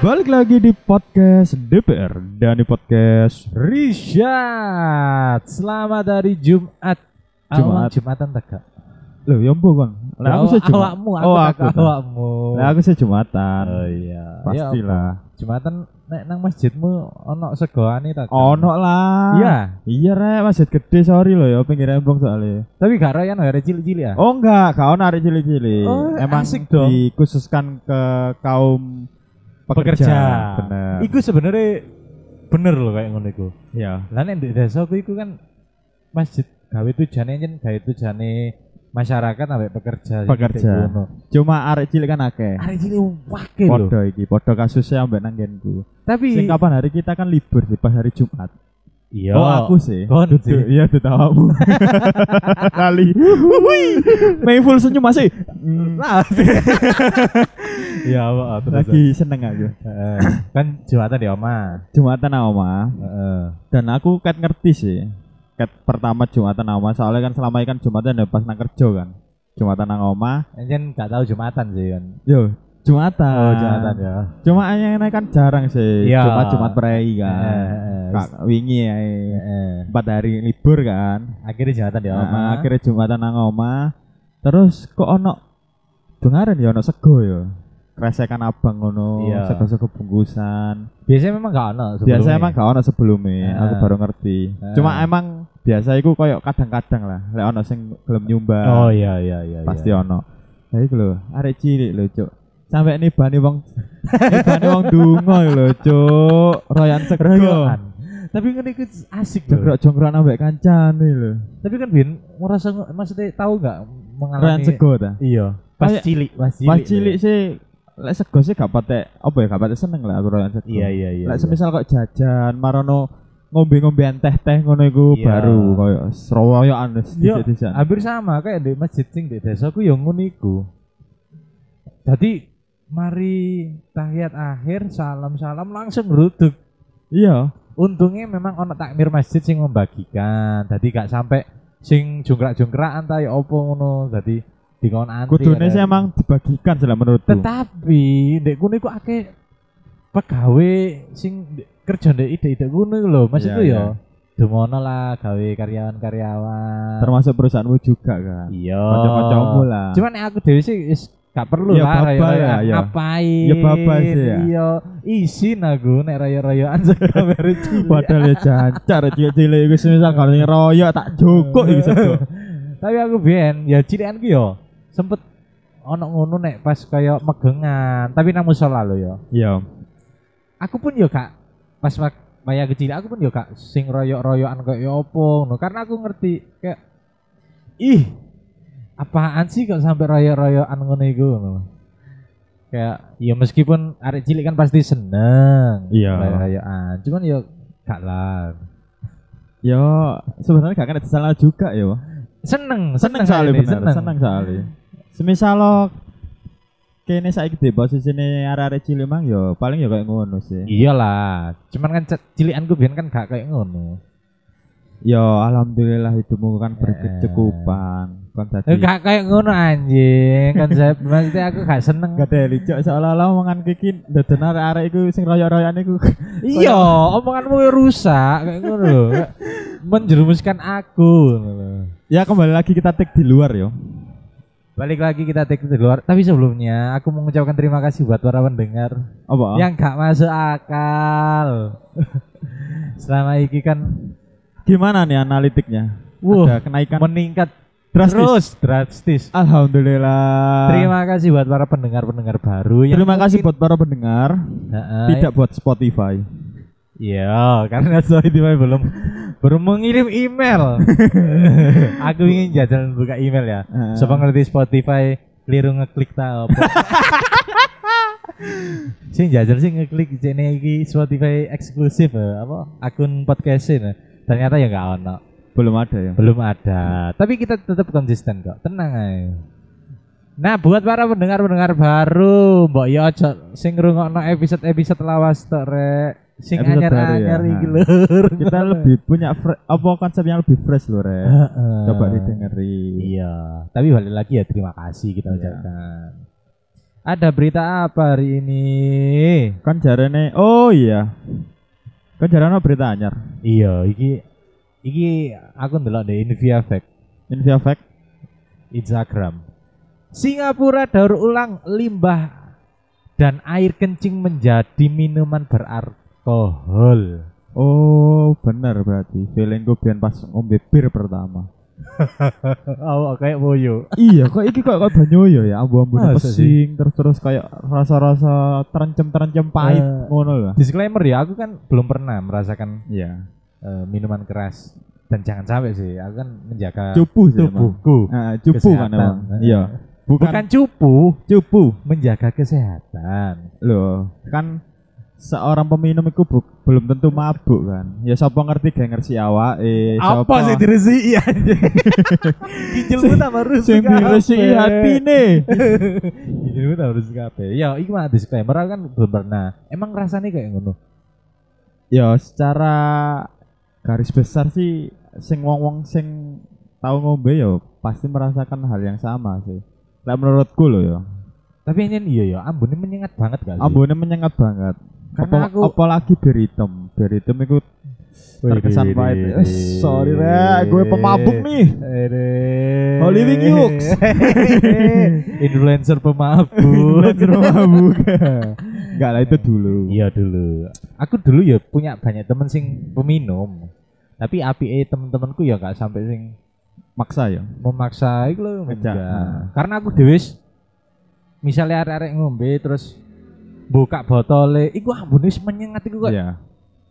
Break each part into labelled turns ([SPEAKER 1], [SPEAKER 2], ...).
[SPEAKER 1] Balik lagi di podcast DPR dan di podcast Rishad. Selamat hari Jumat.
[SPEAKER 2] Jumat.
[SPEAKER 1] Awak Jumatan tak gak? Loh, ya mbok kon. Lah aku
[SPEAKER 2] Awak-
[SPEAKER 1] sih Jumat.
[SPEAKER 2] Awakmu, aku
[SPEAKER 1] Oh,
[SPEAKER 2] tak
[SPEAKER 1] aku.
[SPEAKER 2] kak-
[SPEAKER 1] tak.
[SPEAKER 2] awakmu.
[SPEAKER 1] Lah aku sih Jumatan.
[SPEAKER 2] Oh iya. Ya,
[SPEAKER 1] Pastilah.
[SPEAKER 2] Jumatan nek nang masjidmu ono segone ta? Kak?
[SPEAKER 1] Oh, Ono lah.
[SPEAKER 2] Iya,
[SPEAKER 1] Iya rek, masjid gede sorry loh ya pinggir rembong soalnya.
[SPEAKER 2] tapi gak royan hari cilik-cilik ya.
[SPEAKER 1] Oh enggak, kau narik cili-cili.
[SPEAKER 2] Oh,
[SPEAKER 1] Emang
[SPEAKER 2] asik dong.
[SPEAKER 1] dikhususkan ke kaum pekerja. Bener.
[SPEAKER 2] Iku sebenarnya bener loh kayak ngono iku.
[SPEAKER 1] Iya.
[SPEAKER 2] Lah nek ndek desa aku iku kan masjid gawe tujane yen gawe tujane masyarakat sampai pekerja. sing
[SPEAKER 1] Pekerja.
[SPEAKER 2] ndek kono.
[SPEAKER 1] Cuma arek cilik kan akeh.
[SPEAKER 2] Hari cilik wake lho.
[SPEAKER 1] Podo iki, podo kasusnya ambek nang kenku.
[SPEAKER 2] Tapi
[SPEAKER 1] Sing kapan hari kita kan libur sih pas hari Jumat.
[SPEAKER 2] Iya.
[SPEAKER 1] Oh aku sih.
[SPEAKER 2] kon
[SPEAKER 1] Duh,
[SPEAKER 2] sih.
[SPEAKER 1] iya tetawamu. Kali. Wuih. Mayful senyum masih. Hmm,
[SPEAKER 2] Nah, Ya, awak terus.
[SPEAKER 1] Lagi seneng aku.
[SPEAKER 2] Heeh. kan jumatan di oma.
[SPEAKER 1] Jumatan sama oma
[SPEAKER 2] Heeh.
[SPEAKER 1] dan aku kat ngerti sih. Kat pertama Jumatan sama oma soalnya kan selama ini kan Jumatan ya pas nang kerja kan. Jumatan nang oma.
[SPEAKER 2] Anjen gak kan tahu Jumatan sih kan.
[SPEAKER 1] Yo, Jumatan.
[SPEAKER 2] Oh, Jumatan ya.
[SPEAKER 1] Cuma yang naik kan jarang sih.
[SPEAKER 2] Iya. Eh,
[SPEAKER 1] Jumat Jumat prei kan.
[SPEAKER 2] Heeh.
[SPEAKER 1] Kak wingi ya.
[SPEAKER 2] Heeh.
[SPEAKER 1] Empat hari libur kan.
[SPEAKER 2] Akhirnya Jumatan di oma.
[SPEAKER 1] Nah, akhirnya Jumatan nang oma. Terus kok ono dengaran ya ono sego ya. Kresekan abang ngono,
[SPEAKER 2] Iya.
[SPEAKER 1] sego-sego bungkusan.
[SPEAKER 2] Biasanya memang gak ono sebelumnya.
[SPEAKER 1] Biasa emang gak ono sebelumnya,
[SPEAKER 2] Ah.
[SPEAKER 1] aku baru ngerti.
[SPEAKER 2] Ah.
[SPEAKER 1] Cuma emang biasa iku koyo kadang-kadang lah, lek ono sing gelem nyumbang
[SPEAKER 2] Oh iya iya iya.
[SPEAKER 1] pasti
[SPEAKER 2] iya.
[SPEAKER 1] ono. Lah iku lho, arek cilik lho, Cuk. Sampai nibani wong nibani wong dungo iku lho, Cuk. Royan sego.
[SPEAKER 2] Royokan. Tapi Iya, kan itu asik loh.
[SPEAKER 1] Jongkrok-jongkrokan ambek kancane lho.
[SPEAKER 2] Tapi kan Bin ngerasa maksudnya tahu gak
[SPEAKER 1] Royan
[SPEAKER 2] mengalami
[SPEAKER 1] sego ta?
[SPEAKER 2] Iya. Pas
[SPEAKER 1] Kayak-
[SPEAKER 2] cilik, pas cilik.
[SPEAKER 1] Pas cilik sih lek sego sih gak patek apa ya gak patek seneng lah aku royan sego.
[SPEAKER 2] Iya iya iya.
[SPEAKER 1] Lek
[SPEAKER 2] iya.
[SPEAKER 1] semisal kok jajan marono ngombe-ngombean teh-teh ngono iku
[SPEAKER 2] Iya.
[SPEAKER 1] baru koyo seroyokan wis
[SPEAKER 2] Iya,
[SPEAKER 1] dicet-dicet.
[SPEAKER 2] hampir sama kayak di masjid sing di desa ku yang ngono iku. Jadi mari tahiyat akhir salam-salam langsung ngeruduk.
[SPEAKER 1] Iya,
[SPEAKER 2] Untungnya memang ono takmir masjid sing membagikan. Jadi gak sampai sing jongkrak-jongkrakan ta ya opo ngono. Jadi dikon antri.
[SPEAKER 1] kudune
[SPEAKER 2] kadang.
[SPEAKER 1] sih emang dibagikan sih lah menurutku.
[SPEAKER 2] Tetapi ndek kono iku akeh pegawai sing ndek- kerja ndek ide-ide kono iku lho. Maksudku
[SPEAKER 1] Iya,
[SPEAKER 2] ya dumono lah gawe karyawan-karyawan.
[SPEAKER 1] Termasuk perusahaanmu juga kan.
[SPEAKER 2] Iya.
[SPEAKER 1] Kocok-kocokmu lah.
[SPEAKER 2] Cuman nek aku dhewe sih wis gak perlu
[SPEAKER 1] Ya,
[SPEAKER 2] lah
[SPEAKER 1] babay
[SPEAKER 2] raya-raya
[SPEAKER 1] lah, ya.
[SPEAKER 2] ngapain.
[SPEAKER 1] Ya, babay sih, ya.
[SPEAKER 2] Iya, isin aku nek raya-rayaan sekabar cilik.
[SPEAKER 1] Padahal ya jancar cilik-cilik iku semisal kalau sing royok tak jokok iku sego.
[SPEAKER 2] Tapi aku biyen ya cilikan ku yo sempet ono ngono nek pas kaya megengan, tapi nang musala lho yo.
[SPEAKER 1] Iya.
[SPEAKER 2] Aku pun yo gak pas wak- maya kecil aku pun yo gak sing royok-royokan kaya apa ngono karena aku ngerti kayak ih apaan sih kok sampai royok-royokan ngono iku ngono. Kayak ya meskipun arek cilik kan pasti seneng
[SPEAKER 1] Iya.
[SPEAKER 2] royok-royokan. Cuman yo gak lah.
[SPEAKER 1] Yo sebenarnya gak kena salah juga ya.
[SPEAKER 2] Seneng,
[SPEAKER 1] Seneng
[SPEAKER 2] seneng,
[SPEAKER 1] soalnya
[SPEAKER 2] ini,
[SPEAKER 1] bener, seneng soalnya. Semisal lo kene saiki di posisi ini arek-arek cilik mang yo paling yo kayak ngono sih.
[SPEAKER 2] Iyalah, cuman kan ce- cilikanku biyen kan gak kayak ngono.
[SPEAKER 1] Yo Ya, alhamdulillah hidupmu kan berkecukupan. Kan
[SPEAKER 2] Eh,
[SPEAKER 1] tadi
[SPEAKER 2] Gak kayak ngono anjing, konsep maksudnya aku gak seneng.
[SPEAKER 1] Gak ada licok seolah-olah omongan kiki dadan arek-arek iku sing royok-royokan iku.
[SPEAKER 2] Iya, omonganmu ya rusak kayak ngono lho. Kayak Menjerumuskan aku. ngono lho.
[SPEAKER 1] Ya kembali lagi kita take di luar yo.
[SPEAKER 2] Balik lagi kita take di luar, tapi sebelumnya aku mengucapkan terima kasih buat para pendengar
[SPEAKER 1] Apa?
[SPEAKER 2] yang gak masuk akal. Selama ini kan
[SPEAKER 1] Gimana nih analitiknya?
[SPEAKER 2] Wah,
[SPEAKER 1] Ada kenaikan
[SPEAKER 2] meningkat
[SPEAKER 1] Kan drastis. Ah.
[SPEAKER 2] terus drastis.
[SPEAKER 1] Alhamdulillah.
[SPEAKER 2] Terima kasih buat para pendengar-pendengar baru yang
[SPEAKER 1] Terima kasih buat para pendengar,
[SPEAKER 2] Heeh,
[SPEAKER 1] tidak buat Spotify.
[SPEAKER 2] Iya, karena Spotify belum belum mengirim email. Aku ingin jajan buka email ya.
[SPEAKER 1] Heeh.
[SPEAKER 2] Siapa ngerti Spotify keliru ngeklik ta apa. sing jajan sih ngeklik jene iki Spotify eksklusif eh, apa akun podcastin. Ternyata ya nggak ono.
[SPEAKER 1] Belum ada ya.
[SPEAKER 2] Belum ada. Tapi kita tetap konsisten kok. Tenang aja. Nah, buat para pendengar-pendengar baru, Mbok yo ojo sing ngrungokno episode-episode lawas tok rek. Sing
[SPEAKER 1] Episode
[SPEAKER 2] anyar-anyar
[SPEAKER 1] baru ya,
[SPEAKER 2] iki
[SPEAKER 1] nah.
[SPEAKER 2] lho.
[SPEAKER 1] Kita lebih punya fre- apa konsep yang lebih fresh loh, Re.
[SPEAKER 2] Heeh.
[SPEAKER 1] Coba didengerin.
[SPEAKER 2] Iya, tapi balik lagi ya terima kasih
[SPEAKER 1] Iya.
[SPEAKER 2] kita ucapkan. Ada berita apa hari ini?
[SPEAKER 1] Kan jarane oh iya. Kan jarane berita anyar.
[SPEAKER 2] Iya, iki iki aku ndelok di Invia Fact
[SPEAKER 1] Ini fact
[SPEAKER 2] Instagram. Singapura daur ulang limbah dan air kencing menjadi minuman beralkohol.
[SPEAKER 1] Oh, bener berarti. Feelingku biyen pas ngombe bir pertama.
[SPEAKER 2] Oh, kayak boyo.
[SPEAKER 1] iya, kok iki kok kok banyoyo ya, ambu-ambu
[SPEAKER 2] Masa sih?
[SPEAKER 1] pesing terus terus kayak rasa-rasa terencem-terencem pahit
[SPEAKER 2] Eh.
[SPEAKER 1] ngono lah.
[SPEAKER 2] Disclaimer ya, aku kan belum pernah merasakan
[SPEAKER 1] Iya.
[SPEAKER 2] eh, minuman keras dan jangan sampai sih, aku kan menjaga
[SPEAKER 1] Cupu sih emang.
[SPEAKER 2] tubuhku.
[SPEAKER 1] Nah, cupu kan
[SPEAKER 2] Kesehatan.
[SPEAKER 1] emang. Iya. Bukan,
[SPEAKER 2] Bukan cupu,
[SPEAKER 1] cupu.
[SPEAKER 2] menjaga kesehatan.
[SPEAKER 1] Loh, kan seorang peminum itu bu- belum tentu mabuk kan. Ya sapa ngerti gak ngerti awak eh
[SPEAKER 2] apa sih diresi anjing? Ginjalmu tambah
[SPEAKER 1] sing
[SPEAKER 2] rusak.
[SPEAKER 1] diresiki
[SPEAKER 2] apa?
[SPEAKER 1] hatine.
[SPEAKER 2] Ginjalmu tambah rusak Iya, kabeh. Ya, iki mah disclaimer aku kan belum pernah. Emang rasanya kayak ngono.
[SPEAKER 1] ya secara garis besar sih sing wong-wong sing tau ngombe ya pasti merasakan hal yang sama sih. Lah menurutku loh ya.
[SPEAKER 2] Tapi ini iya ya, ambune menyengat banget gak sih?
[SPEAKER 1] Ambune menyengat banget.
[SPEAKER 2] Karena
[SPEAKER 1] Apa-
[SPEAKER 2] aku-
[SPEAKER 1] apalagi beritem. Beritem itu terkesan pahit. Eh, sorry rek, gue pemabuk nih. Holy Wing Yux.
[SPEAKER 2] Influencer pemabuk.
[SPEAKER 1] Influencer mabuk. Enggak lah itu dulu.
[SPEAKER 2] Iya dulu. Aku dulu ya punya banyak temen sing peminum. Tapi api temen-temenku ya gak sampai sing
[SPEAKER 1] Maksa ya.
[SPEAKER 2] memaksa iku lho
[SPEAKER 1] Ngejak.
[SPEAKER 2] enggak.
[SPEAKER 1] Nah.
[SPEAKER 2] Karena aku dhewe s- misalnya arek-arek ngombe terus buka botole, iku ambune wis menyengat iku kok.
[SPEAKER 1] Iya.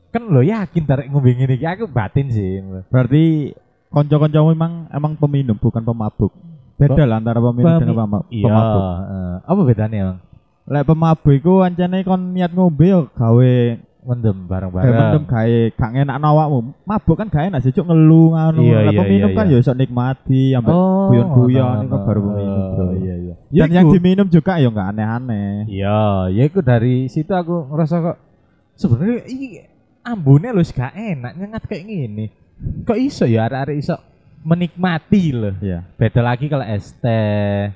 [SPEAKER 2] Kan lo yakin arek ngombe ngene iki aku batin sih.
[SPEAKER 1] Berarti konco-konco memang emang peminum bukan pemabuk. Beda lah antara peminum
[SPEAKER 2] Pemi-
[SPEAKER 1] dengan pema-
[SPEAKER 2] Iya.
[SPEAKER 1] pemabuk.
[SPEAKER 2] eh, apa bedanya, Bang?
[SPEAKER 1] Lek pemabuk iku ancane kon niat ngombe yo gawe
[SPEAKER 2] Mendem
[SPEAKER 1] gawe
[SPEAKER 2] bareng-bareng.
[SPEAKER 1] Eh, mendem gawe gak enakno awakmu. Mabuk kan gak enak sih cuk ngelu ngono.
[SPEAKER 2] Iya,
[SPEAKER 1] Lek
[SPEAKER 2] iya,
[SPEAKER 1] peminum
[SPEAKER 2] iya,
[SPEAKER 1] kan
[SPEAKER 2] iya.
[SPEAKER 1] yo iso nikmati ambek
[SPEAKER 2] Oh,
[SPEAKER 1] guyon-guyon,
[SPEAKER 2] ngono.
[SPEAKER 1] ini kan baru peminum, bro.
[SPEAKER 2] Oh, Iya, iya. Ya,
[SPEAKER 1] Dan yang
[SPEAKER 2] iku.
[SPEAKER 1] diminum juga yo gak aneh-aneh.
[SPEAKER 2] Iya, ya itu dari situ aku ngerasa kok sebenarnya ini ambune lho gak enak nyengat kayak gini. Kok iso ya arek-arek iso menikmati loh.
[SPEAKER 1] Iya.
[SPEAKER 2] Beda lagi kalau es teh.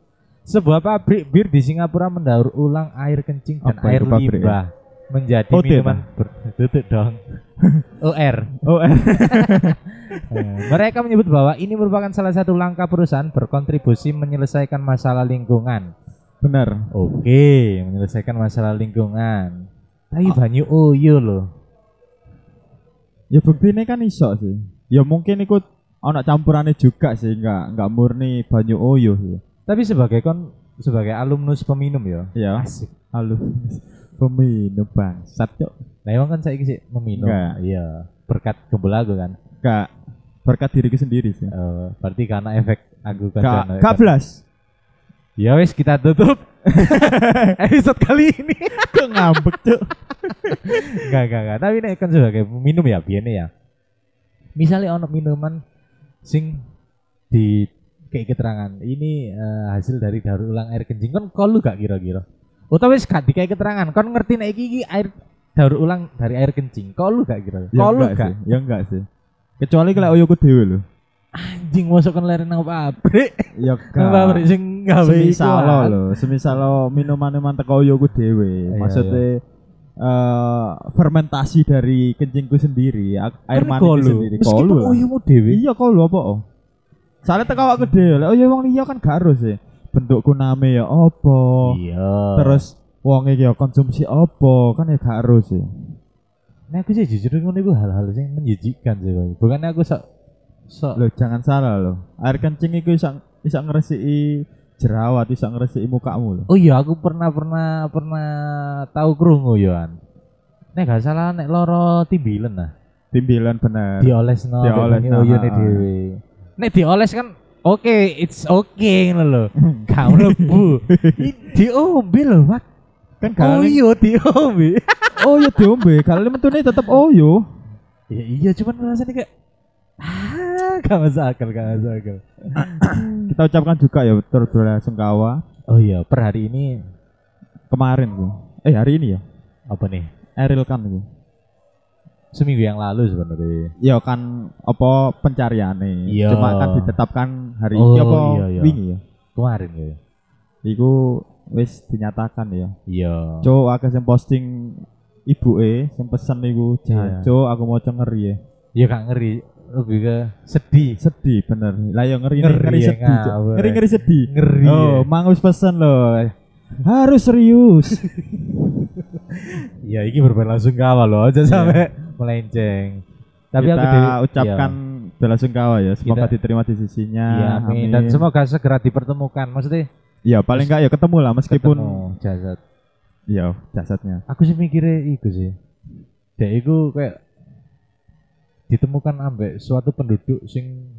[SPEAKER 2] Sebuah pabrik bir di Singapura mendaur ulang air kencing dan
[SPEAKER 1] Apa
[SPEAKER 2] air
[SPEAKER 1] itu pabriknya?
[SPEAKER 2] limbah menjadi
[SPEAKER 1] OT,
[SPEAKER 2] minuman ber... Tutup dong. OR.
[SPEAKER 1] Oh,
[SPEAKER 2] Eh, Mereka menyebut bahwa ini merupakan salah satu langkah perusahaan berkontribusi menyelesaikan masalah lingkungan.
[SPEAKER 1] benar.
[SPEAKER 2] Oke, menyelesaikan masalah lingkungan. Ah. Tapi banyu uyu loh.
[SPEAKER 1] Ya buktinya kan iso sih. Ya mungkin ikut anak campurannya juga sih, nggak nggak murni banyu oyo sih.
[SPEAKER 2] Tapi sebagai kon sebagai alumnus peminum ya.
[SPEAKER 1] Ya,
[SPEAKER 2] Asik.
[SPEAKER 1] halo peminum bangsat cok.
[SPEAKER 2] Nah, emang kan saya sih meminum.
[SPEAKER 1] Enggak.
[SPEAKER 2] Iya. Berkat kebola aku kan.
[SPEAKER 1] Nggak berkat diriku sendiri sih.
[SPEAKER 2] Eh, berarti karena efek aku kan.
[SPEAKER 1] Nggak nggak belas.
[SPEAKER 2] Ya wis kita tutup episode kali ini.
[SPEAKER 1] Kok ngambek cok?
[SPEAKER 2] Enggak, enggak, enggak. Tapi nek kan sebagai minum ya biene ya. Misalnya ono minuman sing di kayak keterangan ini eh, hasil dari daur ulang air kencing kon kau lu gak kira-kira utawa wis gak dikai keterangan kon ngerti nek iki, iki air daur ulang dari air kencing kau lu gak kira
[SPEAKER 1] Ya
[SPEAKER 2] kau lu
[SPEAKER 1] nggak
[SPEAKER 2] gak
[SPEAKER 1] sih. Ya nggak sih. Kecuali kalau oyoku dewe lho.
[SPEAKER 2] anjing masuk kon leren nang pabrik
[SPEAKER 1] Ya
[SPEAKER 2] nang pabrik
[SPEAKER 1] nggak.
[SPEAKER 2] sing gawe iku,
[SPEAKER 1] Semisal lo
[SPEAKER 2] ah.
[SPEAKER 1] lho, semisal lo minuman-minuman teko oyoku dewe.
[SPEAKER 2] Iya,
[SPEAKER 1] Maksudnya eh, fermentasi dari kencingku sendiri, ak- air
[SPEAKER 2] Kan
[SPEAKER 1] maniku
[SPEAKER 2] kau lu.
[SPEAKER 1] sendiri. Kau
[SPEAKER 2] meskipun
[SPEAKER 1] lu lah.
[SPEAKER 2] uyumu dhewe
[SPEAKER 1] Iya kau lho apa? oh? Soalnya teko awak gede, lho, oh ya wong liya kan gak harus ya. Bentuk kuname ya apa?
[SPEAKER 2] iya
[SPEAKER 1] Terus wong iki ya konsumsi apa? Kan ya gak harus ya.
[SPEAKER 2] Nah aku sih jujur ngono iku hal-hal yang menjijikkan sih bang. Bukannya aku sok sok
[SPEAKER 1] Lho jangan salah lho. Air kencing iku iso iso ngresiki jerawat, iso ngresiki mukamu lho.
[SPEAKER 2] Oh iya aku pernah pernah pernah tahu krungu yoan. Nek gak salah nek loro timbilen nah.
[SPEAKER 1] Timbilan bener.
[SPEAKER 2] Dioles no
[SPEAKER 1] Dioles, nah,
[SPEAKER 2] uyune
[SPEAKER 1] ah.
[SPEAKER 2] dhewe. Nek dioles kan oke it's okay ngono lho. Gak mlebu. Di- Diombe lho, Mak.
[SPEAKER 1] Kan
[SPEAKER 2] Oh
[SPEAKER 1] galane
[SPEAKER 2] iya diombe.
[SPEAKER 1] oh iya diombe, galane metune tetep oyo.
[SPEAKER 2] Ya iya cuman rasanya kayak ah gak masuk akal gak masuk akal.
[SPEAKER 1] Kita ucapkan juga ya turut berlasungkawa
[SPEAKER 2] Oh iya per hari ini
[SPEAKER 1] kemarin tuh. Eh hari ini ya.
[SPEAKER 2] apa nih
[SPEAKER 1] Eril kan itu.
[SPEAKER 2] seminggu yang lalu sebenarnya.
[SPEAKER 1] Ya kan apa pencariane.
[SPEAKER 2] Iya.
[SPEAKER 1] Cuma kan ditetapkan hari
[SPEAKER 2] Oh,
[SPEAKER 1] ini apa
[SPEAKER 2] iya, iya.
[SPEAKER 1] wingi ya.
[SPEAKER 2] kemarin ya.
[SPEAKER 1] Iku wis dinyatakan ya.
[SPEAKER 2] Iya.
[SPEAKER 1] Cuk akeh sing posting ibuke sing pesen iku
[SPEAKER 2] Iya.
[SPEAKER 1] Cuk aku mau ngeri ya.
[SPEAKER 2] Ya gak ngeri lebih ke sedih.
[SPEAKER 1] Sedih bener. Lah ya ngeri
[SPEAKER 2] Ngeri
[SPEAKER 1] ngeri, ngeri
[SPEAKER 2] ya,
[SPEAKER 1] sedih. Cuk.
[SPEAKER 2] ngawur.
[SPEAKER 1] Ngeri ngeri sedih.
[SPEAKER 2] Ngeri. iya.
[SPEAKER 1] Oh, mangus pesen loh. Harus serius.
[SPEAKER 2] Ya ini berbelasungkawa loh aja sampai melenceng. Tapi
[SPEAKER 1] Iya. Kita
[SPEAKER 2] aku dewe-
[SPEAKER 1] ucapkan eh, bela sungkawa ya. Semoga
[SPEAKER 2] Kita-
[SPEAKER 1] diterima di sisinya.
[SPEAKER 2] Iya, iya, amin. Dan semoga segera dipertemukan. Maksudnya
[SPEAKER 1] Ya paling enggak ya ketemu lah meskipun
[SPEAKER 2] ketemu jasad.
[SPEAKER 1] ya jasadnya.
[SPEAKER 2] Aku sih mikirnya itu sih. Dia itu kayak ditemukan ambek suatu penduduk sing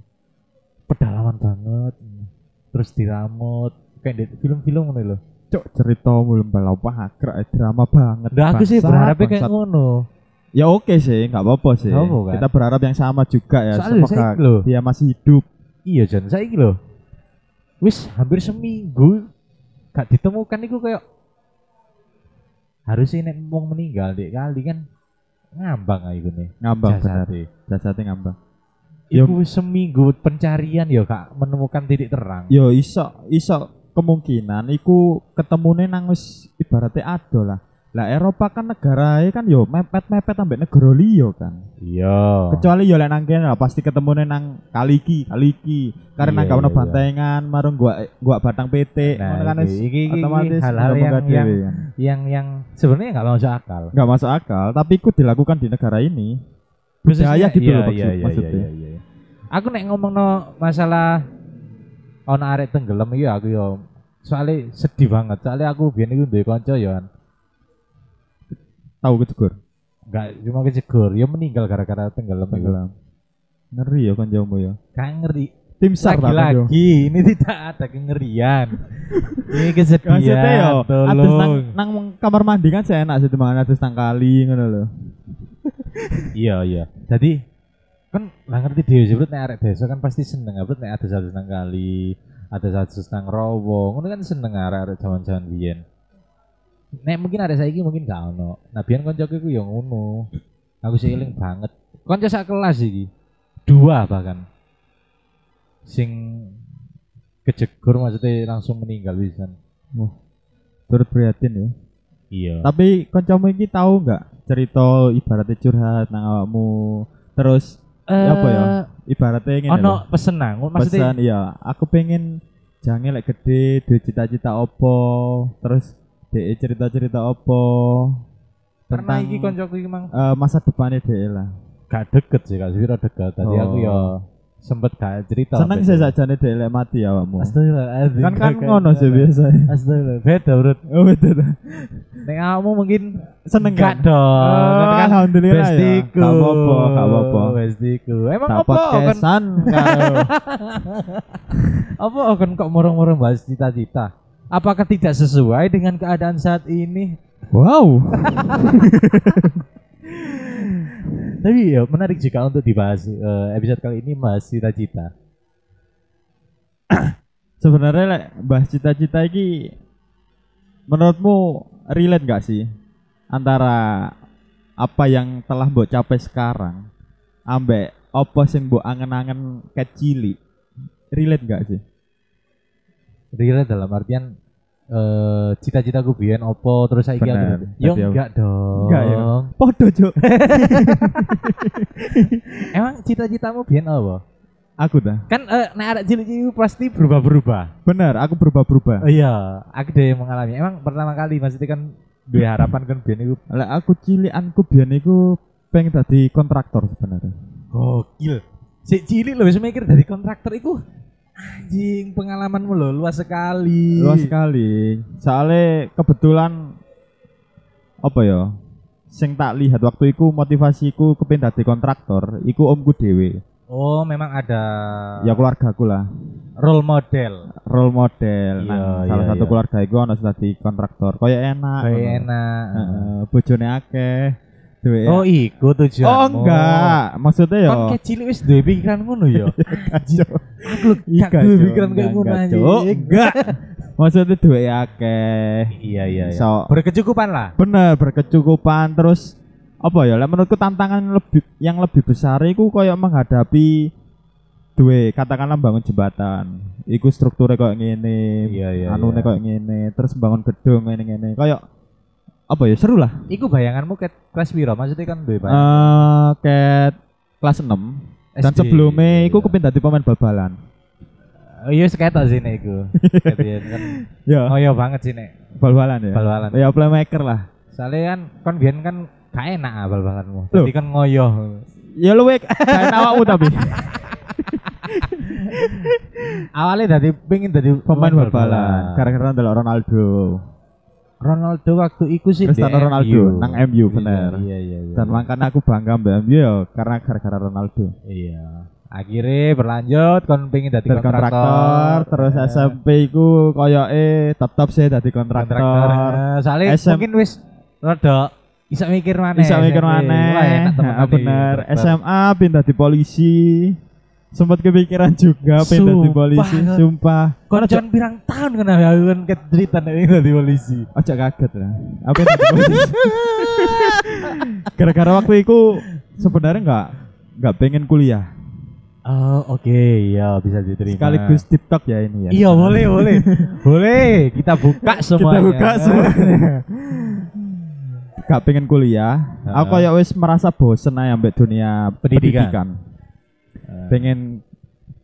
[SPEAKER 2] pedalaman banget. Terus diramut kayak di film-film ngono loh.
[SPEAKER 1] Cuk cerita mulu apa agrak drama banget.
[SPEAKER 2] Nah, aku sih
[SPEAKER 1] Bangsat,
[SPEAKER 2] berharapnya kayak
[SPEAKER 1] bangsat.
[SPEAKER 2] ngono.
[SPEAKER 1] Ya oke sih, nggak apa-apa sih.
[SPEAKER 2] Nggak apa-apa kan?
[SPEAKER 1] Kita berharap yang sama juga ya.
[SPEAKER 2] Soalnya
[SPEAKER 1] semoga
[SPEAKER 2] saya loh.
[SPEAKER 1] dia masih hidup.
[SPEAKER 2] Iya Jan, saya loh. Wis hampir seminggu gak ditemukan iku kayak harusnya nek wong meninggal dek kali kan ngambang ae ikune.
[SPEAKER 1] Ngambang benar.
[SPEAKER 2] Jasate.
[SPEAKER 1] Jasadnya ngambang. Ya-
[SPEAKER 2] Iku semiinggu pencarian ya kak menemukan titik terang.
[SPEAKER 1] Yo iso iso kemungkinan iku ketemune nang wis ibarate ado lah. Lah Eropa kan negarae kan yo mepet-mepet ambek negara liya kan.
[SPEAKER 2] Iya.
[SPEAKER 1] Kecuali yo lek nang kene lah pasti ketemune nang kali iki, kali iki. Karena
[SPEAKER 2] Iya,
[SPEAKER 1] gak ono
[SPEAKER 2] iya, iya.
[SPEAKER 1] bantengan, marung gua gua batang PT, ngono
[SPEAKER 2] Nah,
[SPEAKER 1] kan
[SPEAKER 2] iki-
[SPEAKER 1] wis
[SPEAKER 2] iki- iki- iki
[SPEAKER 1] otomatis
[SPEAKER 2] hal-hal
[SPEAKER 1] udah
[SPEAKER 2] yang-
[SPEAKER 1] munggah dhewe kan.
[SPEAKER 2] Yang yang sebenarnya nggak masuk akal.
[SPEAKER 1] Nggak masuk akal, tapi ku dilakukan di negara ini. Budaya gitu
[SPEAKER 2] iya,
[SPEAKER 1] loh maksud-
[SPEAKER 2] iya, iya,
[SPEAKER 1] maksudnya.
[SPEAKER 2] iya, iya, iya. Aku nek ngomong masalah ono arek tenggelam iya aku yo soalnya sedih banget. Soalnya aku biyen iku duwe kanca yo An.
[SPEAKER 1] Tahu kejegur.
[SPEAKER 2] Enggak, cuma kejegur. Ya meninggal gara-gara tenggelam itu.
[SPEAKER 1] Tenggelam. Ngeri ya kancamu ya.
[SPEAKER 2] Kan ngeri.
[SPEAKER 1] Tim SAR tak, kancamu.
[SPEAKER 2] Lagi-lagi ini tidak ada kengerian.
[SPEAKER 1] Maksudnya yo,
[SPEAKER 2] ini kesedihan.
[SPEAKER 1] adus nang,
[SPEAKER 2] Iya, Tolong.
[SPEAKER 1] nang kamar mandi kan saya enak sih teman adus nang kali ngono lho.
[SPEAKER 2] Iya, iya. Jadi kan lah ngerti dhewe sih, Brut, nek arek desa kan pasti seneng, Brut, nek ada satu nang kali, ada satu nang rowo, ngono kan seneng arek-arek jaman-jaman biyen. Nek mungkin arek saiki mungkin gak ono. Nah, biyen koncoku iku ya ngono. Aku sih eling banget. Konco sak kelas iki. Dua bahkan. Sing kejegur maksudnya langsung meninggal pisan.
[SPEAKER 1] Turut prihatin ya.
[SPEAKER 2] Iya.
[SPEAKER 1] Tapi kancamu iki tahu nggak cerita ibaratnya curhat nang awakmu terus
[SPEAKER 2] Eh,
[SPEAKER 1] apa ya? ibaratnya ngene lho.
[SPEAKER 2] Ono pesen nang, maksudnya
[SPEAKER 1] pesan iya aku pengen jangan lek gede duwe cita-cita opo terus de cerita-cerita opo tentang
[SPEAKER 2] karena iki koncoku iki mang
[SPEAKER 1] eh, masa depannya de lah
[SPEAKER 2] gak deket sih kak Sufiro dekat tadi aku
[SPEAKER 1] Oh.
[SPEAKER 2] ya sempet gak cerita eh,
[SPEAKER 1] seneng
[SPEAKER 2] Bet.
[SPEAKER 1] sih sajane de lek mati awakmu
[SPEAKER 2] Astagfirullahaladzim
[SPEAKER 1] kan Eh, kan
[SPEAKER 2] Kakak.
[SPEAKER 1] ngono sih biasanya
[SPEAKER 2] Astagfirullah beda bro
[SPEAKER 1] oh betul
[SPEAKER 2] Nek kamu mungkin
[SPEAKER 1] seneng
[SPEAKER 2] gak
[SPEAKER 1] kan
[SPEAKER 2] dong
[SPEAKER 1] Oh,
[SPEAKER 2] kan
[SPEAKER 1] alhamdulillah ya
[SPEAKER 2] bestiku
[SPEAKER 1] gak apa-apa gak apa-apa
[SPEAKER 2] bestiku emang
[SPEAKER 1] tak
[SPEAKER 2] apa kan
[SPEAKER 1] podcastan karo
[SPEAKER 2] apa kan kok murung-murung bahas cita-cita apakah tidak sesuai dengan keadaan saat ini
[SPEAKER 1] wow
[SPEAKER 2] tapi ya menarik juga untuk dibahas eh, episode kali ini bahas cita-cita
[SPEAKER 1] sebenarnya lek bahas cita-cita iki menurutmu relate gak sih antara apa yang telah mbok capai sekarang ambek apa sing mbok angen-angen kecili relate gak sih
[SPEAKER 2] Rira dalam artian eh cita-cita gue biyen opo terus saiki aku
[SPEAKER 1] Bener. Tapi
[SPEAKER 2] ya
[SPEAKER 1] aku-
[SPEAKER 2] enggak dong
[SPEAKER 1] Enggak ya. podo cuk
[SPEAKER 2] emang cita-citamu biyen apa
[SPEAKER 1] aku dah
[SPEAKER 2] kan eh nek arek cilik-cilik pasti berubah-berubah
[SPEAKER 1] bener aku berubah-berubah
[SPEAKER 2] iya aku deh mengalami emang pertama kali maksudnya kan duwe harapan kan biyen iku
[SPEAKER 1] lek aku cilianku biyen iku pengen dadi kontraktor sebenarnya
[SPEAKER 2] gokil si cilik lho wis mikir dari kontraktor iku anjing pengalamanmu lho luas sekali
[SPEAKER 1] luas sekali soalnya kebetulan apa ya sing tak lihat waktu itu motivasiku kepin dadi kontraktor iku omku dhewe
[SPEAKER 2] oh memang ada
[SPEAKER 1] ya keluargaku lah
[SPEAKER 2] role model
[SPEAKER 1] role model.
[SPEAKER 2] Iya,
[SPEAKER 1] Nah,
[SPEAKER 2] iya,
[SPEAKER 1] salah satu
[SPEAKER 2] iya.
[SPEAKER 1] keluarga iku ana sing dadi kontraktor. Koyo enak.
[SPEAKER 2] Kayak
[SPEAKER 1] ngono.
[SPEAKER 2] enak.
[SPEAKER 1] Heeh, bojone akeh. Duwe
[SPEAKER 2] Oh iku tujuanmu.
[SPEAKER 1] iya. Oh, enggak, maksudnya ya.
[SPEAKER 2] Kan kayak cilik wis duwe pikiran ngono ya. Anjir. Aku lho
[SPEAKER 1] Iya,
[SPEAKER 2] gak duwe
[SPEAKER 1] Cuk.
[SPEAKER 2] pikiran kayak ngono
[SPEAKER 1] Enggak,
[SPEAKER 2] anjir.
[SPEAKER 1] Cuk. Enggak. Maksudnya duwe akeh.
[SPEAKER 2] Iya iya iya.
[SPEAKER 1] So,
[SPEAKER 2] Berkecukupan lah.
[SPEAKER 1] bener berkecukupan terus apa ya lah menurutku tantangan lebih yang lebih besar iku koyo menghadapi duwe katakanlah bangun jembatan iku strukturnya koyo ngene
[SPEAKER 2] Iya iya.
[SPEAKER 1] anune
[SPEAKER 2] iya.
[SPEAKER 1] koyo ngene terus bangun gedung ngene ngene koyo apa ya seru lah
[SPEAKER 2] Iku bayanganmu ke kelas piro? Maksudnya kan duwe
[SPEAKER 1] eh
[SPEAKER 2] bayangan.
[SPEAKER 1] ket kelas 6 Eh, dan
[SPEAKER 2] SD.
[SPEAKER 1] sebelumnya iku
[SPEAKER 2] Iya.
[SPEAKER 1] kepin dadi pemain bal-balan
[SPEAKER 2] Oh, Iya wis ketok sih nek iku. Ketian kan.
[SPEAKER 1] ya
[SPEAKER 2] Oh iya banget sih nek
[SPEAKER 1] bal-balan ya
[SPEAKER 2] bal-balan.
[SPEAKER 1] ya playmaker lah
[SPEAKER 2] Soalnya kan kon biyen kan gak enak ah bal-balanmu.
[SPEAKER 1] Loh.
[SPEAKER 2] Jadi kan ngoyoh.
[SPEAKER 1] ya lu wek kayak awakmu tapi
[SPEAKER 2] Awalnya dari pengen dari
[SPEAKER 1] pemain bal-balan gara-gara ndelok Ronaldo
[SPEAKER 2] Ronaldo waktu iku sih
[SPEAKER 1] Cristiano
[SPEAKER 2] di
[SPEAKER 1] Ronaldo
[SPEAKER 2] MU.
[SPEAKER 1] nang MU bener
[SPEAKER 2] Iya iya iya.
[SPEAKER 1] dan makanya aku bangga mbak MU ya karena gara-gara Ronaldo
[SPEAKER 2] Iya. Akhirnya berlanjut kon pengen dadi
[SPEAKER 1] dari kontraktor, Iya. terus
[SPEAKER 2] Eh,
[SPEAKER 1] SMP ku koyo eh tetep sih dari kontraktor,
[SPEAKER 2] Eh, Soalnya
[SPEAKER 1] SM.
[SPEAKER 2] mungkin wis rada bisa mikir mana
[SPEAKER 1] bisa mikir mana bener SMA pindah di polisi sempat kepikiran juga pindah di
[SPEAKER 2] Sumpah.
[SPEAKER 1] polisi sumpah
[SPEAKER 2] Koncoan pirang tahun kena aku kan kecerita nek ini dadi polisi.
[SPEAKER 1] ojo kaget lah aku pindah di polisi gara-gara waktu itu sebenarnya nggak nggak pengen kuliah
[SPEAKER 2] Oh oke iya bisa diterima.
[SPEAKER 1] sekaligus TikTok ya ini ya
[SPEAKER 2] Iya boleh boleh boleh kita buka semuanya.
[SPEAKER 1] Kita buka semuanya. Gak pengen kuliah.
[SPEAKER 2] Heeh.
[SPEAKER 1] Aku kayak wis merasa bosen aja ambek dunia pendidikan.
[SPEAKER 2] Pendidikan. Eh,
[SPEAKER 1] Pengen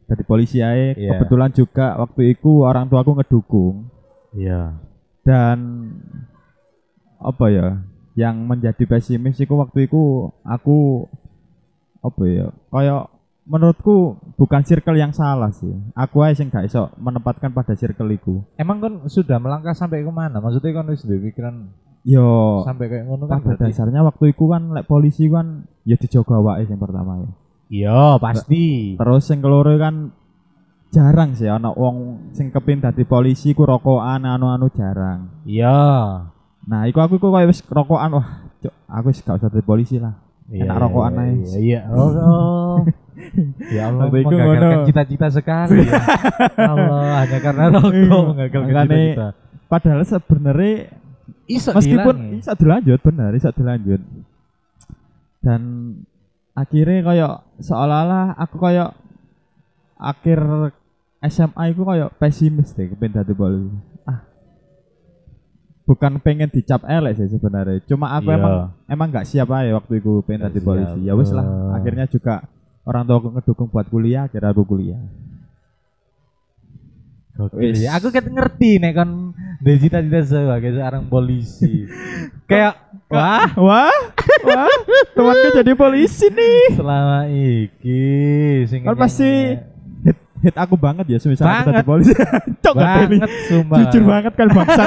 [SPEAKER 1] jadi polisi aja.
[SPEAKER 2] Iya.
[SPEAKER 1] Kebetulan juga waktu itu orang tua aku ngedukung
[SPEAKER 2] Iya.
[SPEAKER 1] dan apa ya? Yang menjadi pesimis itu waktu itu aku apa ya? Kayak menurutku bukan circle yang salah sih. Aku aja sing gak iso menempatkan pada circle iku.
[SPEAKER 2] Emang kon sudah melangkah sampai kemana? Maksudnya kon wis duwe pikiran
[SPEAKER 1] Yo,
[SPEAKER 2] sampai kayak ngono kan
[SPEAKER 1] Ya, pada
[SPEAKER 2] berarti.
[SPEAKER 1] dasarnya waktu itu kan lek polisi kan ya dijaga awake yang pertama ya.
[SPEAKER 2] Iya pasti.
[SPEAKER 1] Terus yang keloro kan jarang sih ana wong sing kepin dadi polisi ku rokokan anu-anu jarang.
[SPEAKER 2] Iya.
[SPEAKER 1] Nah, iku aku iku koyo wis rokokan wah cuk, aku wis gak usah dadi polisi lah. Enak rokokan
[SPEAKER 2] iya,
[SPEAKER 1] aja.
[SPEAKER 2] Iya, iya. Oh, oh. ya Allah,
[SPEAKER 1] Sampai iku
[SPEAKER 2] menggagalkan
[SPEAKER 1] ngono.
[SPEAKER 2] cita-cita sekali. Ya. Allah, hanya karena rokok
[SPEAKER 1] Iya.
[SPEAKER 2] menggagalkan
[SPEAKER 1] Makanya-
[SPEAKER 2] cita-cita.
[SPEAKER 1] Padahal sebenarnya
[SPEAKER 2] Iso
[SPEAKER 1] meskipun
[SPEAKER 2] dihilangi.
[SPEAKER 1] bisa dilanjut bener, bisa dilanjut. Dan akhirnya koyo seolah-olah aku koyo akhir SMA itu koyo pesimis deh kepin dadi polisi. Ah. Bukan pengen dicap elek sih sebenarnya. Cuma aku
[SPEAKER 2] Iya.
[SPEAKER 1] emang emang nggak siap aja waktu itu pengen
[SPEAKER 2] Nggak
[SPEAKER 1] dadi polisi.
[SPEAKER 2] siap.
[SPEAKER 1] Ya wis lah.
[SPEAKER 2] Eh.
[SPEAKER 1] Akhirnya juga orang tua aku ngedukung buat kuliah, akhirnya aku kuliah.
[SPEAKER 2] Gokil
[SPEAKER 1] Wis.
[SPEAKER 2] ya. Aku ket ngerti nek kon duwe cita-cita sebagai seorang polisi. Kayak wah
[SPEAKER 1] Wah, wah, temanku jadi polisi nih.
[SPEAKER 2] selama iki sing
[SPEAKER 1] Kan pasti hit, hit aku banget ya semisal aku
[SPEAKER 2] Banget.
[SPEAKER 1] tadi polisi. Cok gak teli.
[SPEAKER 2] banget sumpah.
[SPEAKER 1] Jujur banget kan bangsat.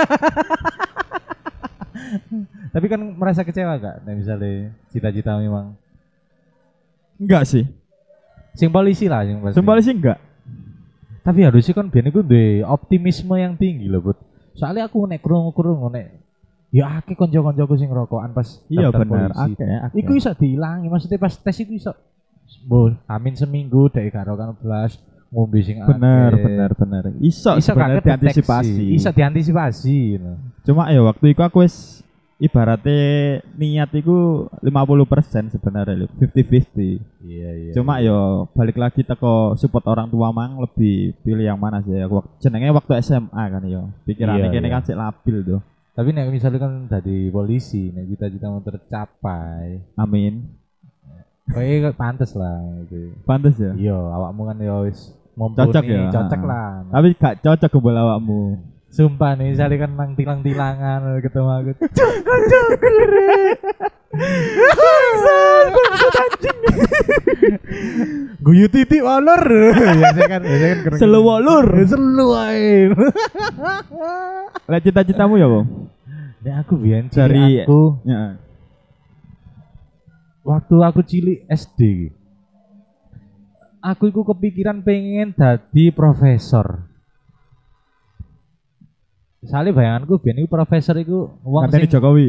[SPEAKER 2] Tapi kan merasa kecewa gak nek misalnya cita-cita memang
[SPEAKER 1] enggak sih.
[SPEAKER 2] sing polisi lah sing pasti.
[SPEAKER 1] Sing polisi enggak.
[SPEAKER 2] Tapi harusnya kan biar gue duwe optimisme yang tinggi loh bud. Soalnya aku nek kerungu kerungu nek ya akeh konco koncoku sing rokokan pas
[SPEAKER 1] Iya
[SPEAKER 2] daftar
[SPEAKER 1] benar.
[SPEAKER 2] polisi.
[SPEAKER 1] Oke, oke.
[SPEAKER 2] Iku iso diilangi maksudnya pas tes iku iso. Bo, amin seminggu dari karo kan belas ngombe sing akeh.
[SPEAKER 1] Benar, benar, benar. Iso
[SPEAKER 2] Iso
[SPEAKER 1] sebenarnya
[SPEAKER 2] kaget
[SPEAKER 1] diantisipasi.
[SPEAKER 2] Iso diantisipasi. no.
[SPEAKER 1] Cuma ya waktu itu aku wis ibaratnya niat iku 50% sebenarnya 50-50.
[SPEAKER 2] Iya iya.
[SPEAKER 1] Cuma yo balik lagi teko support orang tua mang lebih pilih yang mana sih aku wak- jenenge waktu SMA kan yo. Pikirannya
[SPEAKER 2] Iya,
[SPEAKER 1] kene
[SPEAKER 2] iya.
[SPEAKER 1] kan sik labil tuh.
[SPEAKER 2] Tapi nek misalnya kan dari polisi, nek cita-cita mau tercapai,
[SPEAKER 1] Amin.
[SPEAKER 2] kayak pantes lah gitu.
[SPEAKER 1] Pantes ya.
[SPEAKER 2] Iya, awakmu kan ya wis
[SPEAKER 1] Cocok
[SPEAKER 2] mumpuni,
[SPEAKER 1] ya,
[SPEAKER 2] cocok
[SPEAKER 1] ha.
[SPEAKER 2] lah.
[SPEAKER 1] Tapi gak cocok ke bola awakmu.
[SPEAKER 2] Sumpah nih, saya kan nang tilang-tilangan ketemu aku. Guyu titik walor. Ya saya kan, ya saya kan keren.
[SPEAKER 1] Selewolur.
[SPEAKER 2] Ya, selu ae.
[SPEAKER 1] Lek cita-citamu ya, Bang?
[SPEAKER 2] Nek aku biyen
[SPEAKER 1] Dari-
[SPEAKER 2] cilik aku
[SPEAKER 1] Ya.
[SPEAKER 2] waktu aku cilik SD. Aku iku kepikiran pengen dadi profesor. Soalnya bayanganku biyen iku profesor iku wong
[SPEAKER 1] Katanya
[SPEAKER 2] sing
[SPEAKER 1] Jokowi.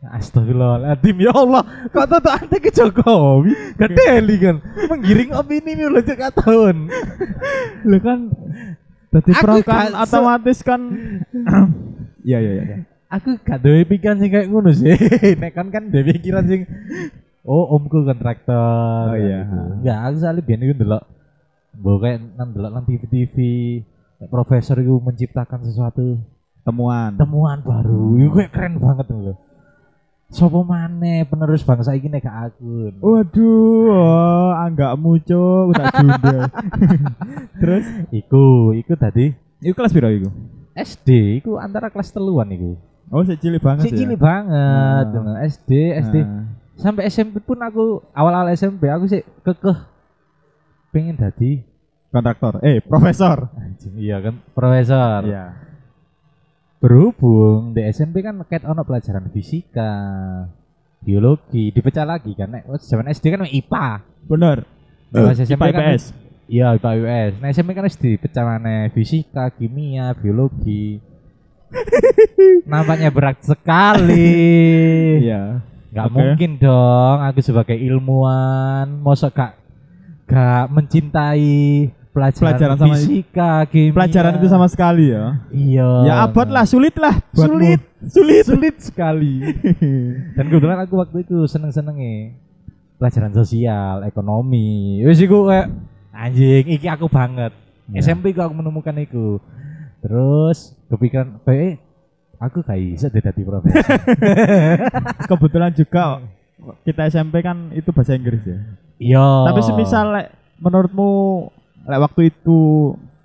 [SPEAKER 2] Astagfirullahaladzim ya Allah kok tahu ante ke Jokowi gedeli kan menggiring opini nih lo cek tahun
[SPEAKER 1] Lu kan tadi
[SPEAKER 2] Aku
[SPEAKER 1] pro
[SPEAKER 2] gak
[SPEAKER 1] kan
[SPEAKER 2] se-
[SPEAKER 1] otomatis kan. Iya iya iya.
[SPEAKER 2] aku gak duwe pikiran sing kayak ngono sih nek kan kan duwe pikiran sing oh omku kontraktor
[SPEAKER 1] Oh, iya.
[SPEAKER 2] enggak aku soalnya biyen iku ndelok mbok kayak nang ndelok nang TV-TV kayak profesor itu menciptakan sesuatu
[SPEAKER 1] Temuan.
[SPEAKER 2] temuan baru itu kayak keren banget loh Sopo maneh penerus bangsa ini nek gak aku
[SPEAKER 1] Waduh, oh, anggak muncul, tak jundel. Terus,
[SPEAKER 2] iku iku tadi
[SPEAKER 1] itu kelas piro iku?
[SPEAKER 2] SD iku antara kelas teluan iku.
[SPEAKER 1] Oh, sik cilik banget
[SPEAKER 2] Sing cilik banget.
[SPEAKER 1] Ah.
[SPEAKER 2] SD, SD sampai SMP pun aku awal-awal SMP aku sih kekeh pengen dadi
[SPEAKER 1] kontraktor. Eh, profesor.
[SPEAKER 2] anjing iya kan profesor.
[SPEAKER 1] Iya.
[SPEAKER 2] Berhubung di SMP kan ket ono pelajaran fisika, biologi, dipecah lagi kan nek wes zaman SD kan IPA.
[SPEAKER 1] Bener. Eh,
[SPEAKER 2] Di kelas
[SPEAKER 1] IPA
[SPEAKER 2] SMP kan-
[SPEAKER 1] IPS.
[SPEAKER 2] Iya IPA IPS. Nah SMP kan SD pecah maneh fisika, kimia, biologi. Nampaknya berat sekali.
[SPEAKER 1] Iya.
[SPEAKER 2] Gak
[SPEAKER 1] Oke.
[SPEAKER 2] mungkin dong aku sebagai ilmuwan mosok gak gak mencintai pelajaran,
[SPEAKER 1] Pelajaran sama-
[SPEAKER 2] fisika, kimia.
[SPEAKER 1] Pelajaran itu sama sekali ya.
[SPEAKER 2] Iya.
[SPEAKER 1] Ya abot lah, sulit lah. buatmu.
[SPEAKER 2] Sulit.
[SPEAKER 1] sulit.
[SPEAKER 2] Sulit sekali. Dan kebetulan aku waktu itu seneng-senenge pelajaran sosial, ekonomi. Wis iku kayak anjing, iki aku banget.
[SPEAKER 1] Ya.
[SPEAKER 2] SMP kok aku menemukan itu. Terus kepikiran, eh aku gak bisa deh dadi profesor.
[SPEAKER 1] Kebetulan juga kita SMP kan itu bahasa Inggris ya.
[SPEAKER 2] Iya.
[SPEAKER 1] Tapi semisal lek, menurutmu lek waktu itu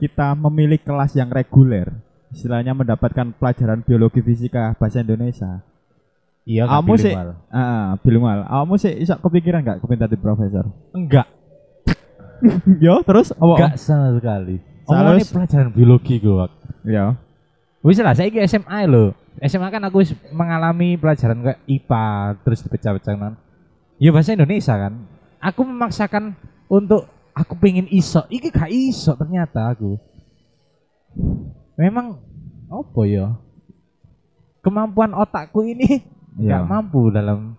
[SPEAKER 1] kita memilih kelas yang reguler, istilahnya mendapatkan pelajaran biologi fisika bahasa Indonesia.
[SPEAKER 2] Iya,
[SPEAKER 1] Kamu
[SPEAKER 2] kamu
[SPEAKER 1] sih-
[SPEAKER 2] sih
[SPEAKER 1] Ah, bilingual. Awakmu sih iso kepikiran gak kepintar di profesor?
[SPEAKER 2] enggak,
[SPEAKER 1] Yo, terus apa?
[SPEAKER 2] enggak sama sekali.
[SPEAKER 1] Salah
[SPEAKER 2] Omongane
[SPEAKER 1] wis.
[SPEAKER 2] pelajaran biologi gua.
[SPEAKER 1] Yo.
[SPEAKER 2] Wis lah, saya SMA lho. SMA kan aku wis mengalami pelajaran kayak IPA terus dipecah-pecah kan. Ya bahasa Indonesia kan. Aku memaksakan untuk aku pengen iso. Iki gak iso ternyata aku. Memang apa ya? Kemampuan otakku ini
[SPEAKER 1] Yo.
[SPEAKER 2] nggak mampu dalam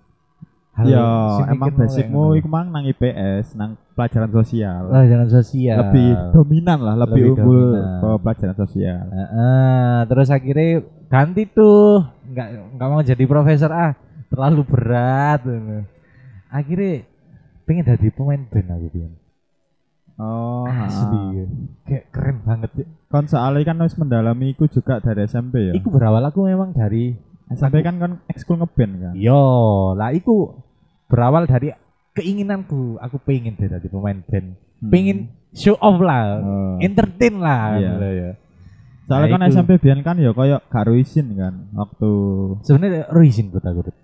[SPEAKER 1] Yo,
[SPEAKER 2] sing bikin
[SPEAKER 1] Ya. emang
[SPEAKER 2] mulai
[SPEAKER 1] basicmu
[SPEAKER 2] ngono.
[SPEAKER 1] iku mang nang IPS, nang pelajaran sosial.
[SPEAKER 2] pelajaran sosial
[SPEAKER 1] Lebih dominan lah, lebih,
[SPEAKER 2] iya. Lebih
[SPEAKER 1] unggul
[SPEAKER 2] dominan.
[SPEAKER 1] ke pelajaran sosial.
[SPEAKER 2] Heeh, terus akhirnya ganti tuh, nggak nggak mau jadi profesor ah, terlalu berat. gitu. Akhirnya pengen jadi pemain band aku pian.
[SPEAKER 1] Oh,
[SPEAKER 2] Asli,
[SPEAKER 1] ha.
[SPEAKER 2] ya. kayak keren banget. ya.
[SPEAKER 1] Kon soalnya kan harus mendalami iku juga dari SMP ya.
[SPEAKER 2] Iku berawal aku memang dari,
[SPEAKER 1] SMP kan kan ekskul ngeband kan.
[SPEAKER 2] yo lah, iku berawal dari keinginanku, aku pengen deh jadi pemain band,
[SPEAKER 1] Hmm.
[SPEAKER 2] pengen show off lah,
[SPEAKER 1] Oh.
[SPEAKER 2] entertain
[SPEAKER 1] Iya.
[SPEAKER 2] lah. gitu ya.
[SPEAKER 1] Soalnya
[SPEAKER 2] Nah,
[SPEAKER 1] kan
[SPEAKER 2] itu.
[SPEAKER 1] SMP biyen kan ya koyo gak izin kan waktu
[SPEAKER 2] Sebenarnya reason buat aku. Dut.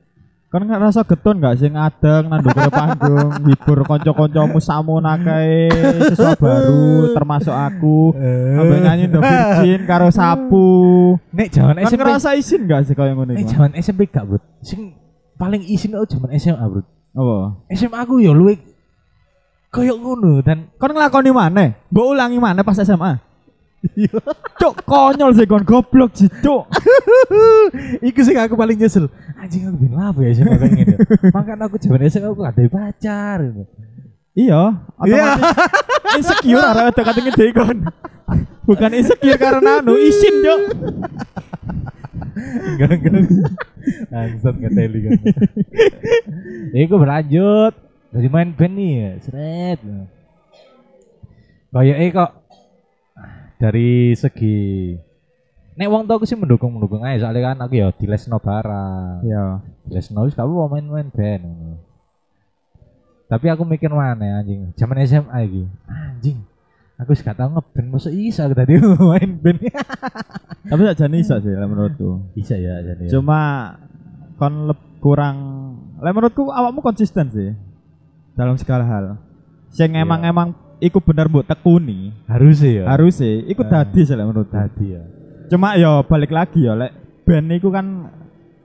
[SPEAKER 1] kan nggak rasa getun nggak sih ngadeng nanduk ke panggung hibur konco-koncomu samun akeh siswa baru termasuk aku
[SPEAKER 2] Eh.
[SPEAKER 1] sampai nyanyi The Virgin karo sapu
[SPEAKER 2] Nek jaman
[SPEAKER 1] kan
[SPEAKER 2] SMP
[SPEAKER 1] ngerasa izin nggak sih kayak ngono
[SPEAKER 2] Nek
[SPEAKER 1] iku?
[SPEAKER 2] jaman SMP gak, Bro. Sing paling isin aku jaman SMA, Bro.
[SPEAKER 1] apa
[SPEAKER 2] SMA aku ya luwih koyo ngono dan
[SPEAKER 1] kan ngelakoni mana mbok ulangi mana pas SMA
[SPEAKER 2] Iya.
[SPEAKER 1] cok konyol sih kon goblok sih cok
[SPEAKER 2] iku sing aku paling nyesel. Anjing aku ben lapo ya SMA kayak ngene. Makanya aku jaman SMA aku gak ada pacar. gitu.
[SPEAKER 1] iya
[SPEAKER 2] Iya.
[SPEAKER 1] otomatis insecure arah itu katanya gede kon bukan insecure karena anu izin cok
[SPEAKER 2] Enggak enggak. Bangsat kateli kan. Iku berlanjut dari main band nih, ya, seret. Kayak eh kok dari segi Nek wong tuaku sih mendukung mendukung aja soalnya kan aku ya di lesno barang,
[SPEAKER 1] iya
[SPEAKER 2] di lesno wis kamu mau main main band. ngono. Tapi aku mikir mana anjing, zaman SMA iki. Anjing, aku sih gak tau ngeband, masa iso aku tadi main band.
[SPEAKER 1] tapi saja iso sih lah menurutku
[SPEAKER 2] Bisa ya jadi. ya.
[SPEAKER 1] cuma kon leb- kurang lah menurutku awakmu konsisten sih dalam segala hal sing
[SPEAKER 2] Iya.
[SPEAKER 1] emang emang iku bener mbok tekuni
[SPEAKER 2] harus sih ya.
[SPEAKER 1] harus sih iku
[SPEAKER 2] Ah.
[SPEAKER 1] Iya. dadi sih lah menurutku
[SPEAKER 2] tadi ya.
[SPEAKER 1] cuma yo balik lagi yo lek band iku kan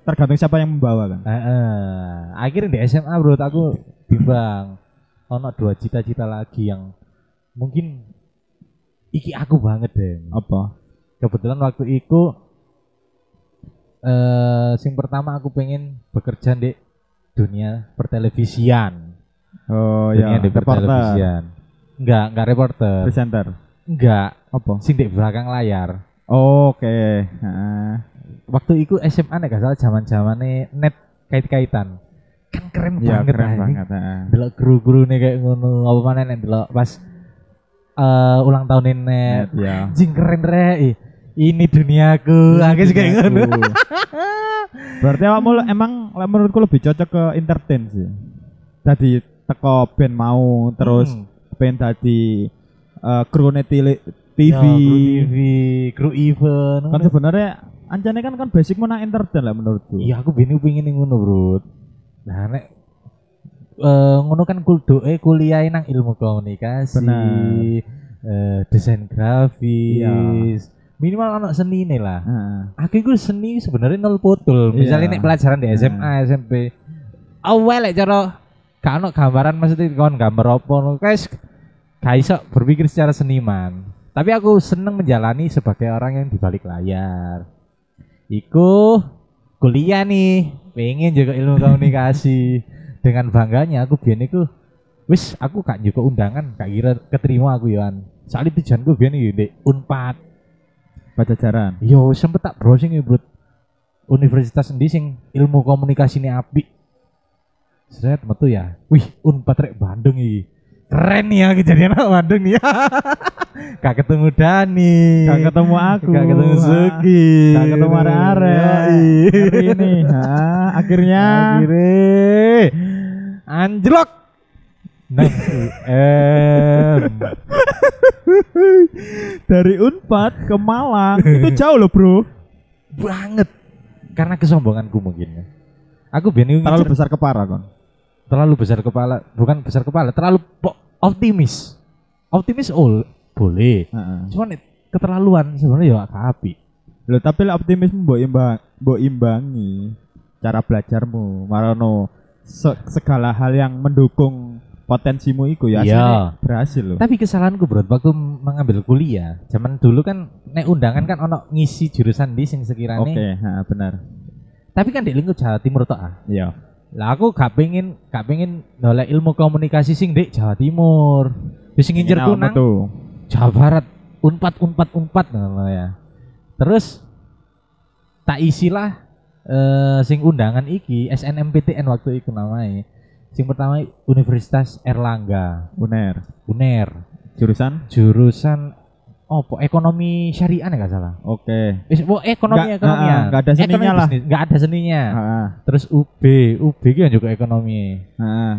[SPEAKER 1] tergantung siapa yang membawa kan
[SPEAKER 2] Heeh. Akhirnya di SMA bro aku bimbang. Ono dua cita-cita lagi yang mungkin iki aku banget deh.
[SPEAKER 1] apa
[SPEAKER 2] Kebetulan waktu itu eh sing pertama aku pengen bekerja di dunia pertelevisian.
[SPEAKER 1] Oh
[SPEAKER 2] dunia
[SPEAKER 1] iya,
[SPEAKER 2] di
[SPEAKER 1] reporter,
[SPEAKER 2] pertelevisian. Enggak, enggak reporter.
[SPEAKER 1] presenter.
[SPEAKER 2] Enggak,
[SPEAKER 1] Apa?
[SPEAKER 2] sing di belakang layar.
[SPEAKER 1] Oke. Heeh.
[SPEAKER 2] Waktu itu SMA nek gak salah zaman-zamane net kait-kaitan. Kan keren
[SPEAKER 1] Iya,
[SPEAKER 2] banget
[SPEAKER 1] keren
[SPEAKER 2] anjing.
[SPEAKER 1] banget. heeh.
[SPEAKER 2] delok guru-guru nih kayak ngono apa mana nih delok pas eh ulang tahun
[SPEAKER 1] Net,
[SPEAKER 2] nenek
[SPEAKER 1] Ya.
[SPEAKER 2] anjing keren re Ih, ini duniaku aku kayak ngono
[SPEAKER 1] Aku. Berarti awakmu le- emang le- menurutku lebih cocok ke entertain sih. Tadi teko band mau terus
[SPEAKER 2] Hmm.
[SPEAKER 1] pengen tadi eh kru TV.
[SPEAKER 2] Ya, kru TV kru event
[SPEAKER 1] Kan
[SPEAKER 2] ngono.
[SPEAKER 1] sebenarnya ancane kan kan basic mana entertain lah menurutku.
[SPEAKER 2] iya aku bini pengen ngono bro nah nek eh ngono kan kuldoe kuliah nang ilmu komunikasi
[SPEAKER 1] Bener.
[SPEAKER 2] eh, desain grafis
[SPEAKER 1] Iya.
[SPEAKER 2] minimal anak seni nih lah
[SPEAKER 1] Heeh.
[SPEAKER 2] aku itu seni sebenarnya nol putul misalnya
[SPEAKER 1] Iya.
[SPEAKER 2] nek pelajaran di SMA SMP awal lek cara gak ono gambaran maksudnya kon gambar apa no guys gak iso berpikir secara seniman tapi aku seneng menjalani sebagai orang yang di balik layar iku kuliah nih pengen juga ilmu komunikasi dengan bangganya aku biyen iku wis aku gak juga undangan gak kira keterima aku yoan soalnya tujuanku biyen yo ndek Unpad
[SPEAKER 1] Pajajaran.
[SPEAKER 2] Yo sempet tak browsing ya bro Universitas endi sing ilmu komunikasi ini api Seret metu ya Wih unpad rek Bandung iki Keren nih ya kejadian anak Bandung nih Gak ketemu Dani
[SPEAKER 1] Gak ketemu aku. Ah.
[SPEAKER 2] Gak ketemu Sugi
[SPEAKER 1] Gak ketemu arek-arek.
[SPEAKER 2] Iya,
[SPEAKER 1] Ngeri ini. Hah, akhirnya
[SPEAKER 2] Akhirnya Anjlok Neng UM
[SPEAKER 1] dari Unpad ke Malang itu jauh loh, Bro.
[SPEAKER 2] Banget Karena kesombonganku mungkin ya. Aku biar
[SPEAKER 1] Terlalu besar kepala kon.
[SPEAKER 2] terlalu besar kepala bukan besar kepala terlalu po- optimis optimis ol boleh
[SPEAKER 1] Heeh.
[SPEAKER 2] cuman it- keterlaluan sebenarnya ya gak api
[SPEAKER 1] Loh, tapi lah optimisme mbok imbang, mbok imbangi cara belajarmu. Marono se- segala hal yang mendukung potensimu itu ya
[SPEAKER 2] Iya.
[SPEAKER 1] aslinya berhasil loh.
[SPEAKER 2] tapi kesalahanku bro waktu mengambil kuliah zaman dulu kan nek undangan kan ono ngisi jurusan di sing sekiranya
[SPEAKER 1] Oke, ha, benar.
[SPEAKER 2] tapi kan di lingkup Jawa Timur tok ah
[SPEAKER 1] Iya.
[SPEAKER 2] lah aku gak pengen gak pengen nolak ilmu komunikasi sing di Jawa Timur bisa nginjer
[SPEAKER 1] Ingin awakmu
[SPEAKER 2] kunang
[SPEAKER 1] tuh.
[SPEAKER 2] Jawa Barat unpat unpat unpat ngono ya terus tak isilah eh, sing undangan iki SNMPTN waktu itu namanya sing pertama Universitas Erlangga
[SPEAKER 1] Uner.
[SPEAKER 2] UNER
[SPEAKER 1] Jurusan?
[SPEAKER 2] jurusan opo ekonomi syariah ya gak salah
[SPEAKER 1] Oke.
[SPEAKER 2] Wis oh, ekonomi
[SPEAKER 1] Nggak-
[SPEAKER 2] ekonomi
[SPEAKER 1] ah, ah, nggak ada seninya lah.
[SPEAKER 2] nggak ada seninya
[SPEAKER 1] Heeh.
[SPEAKER 2] terus UB UB itu yang juga ekonomi
[SPEAKER 1] Heeh.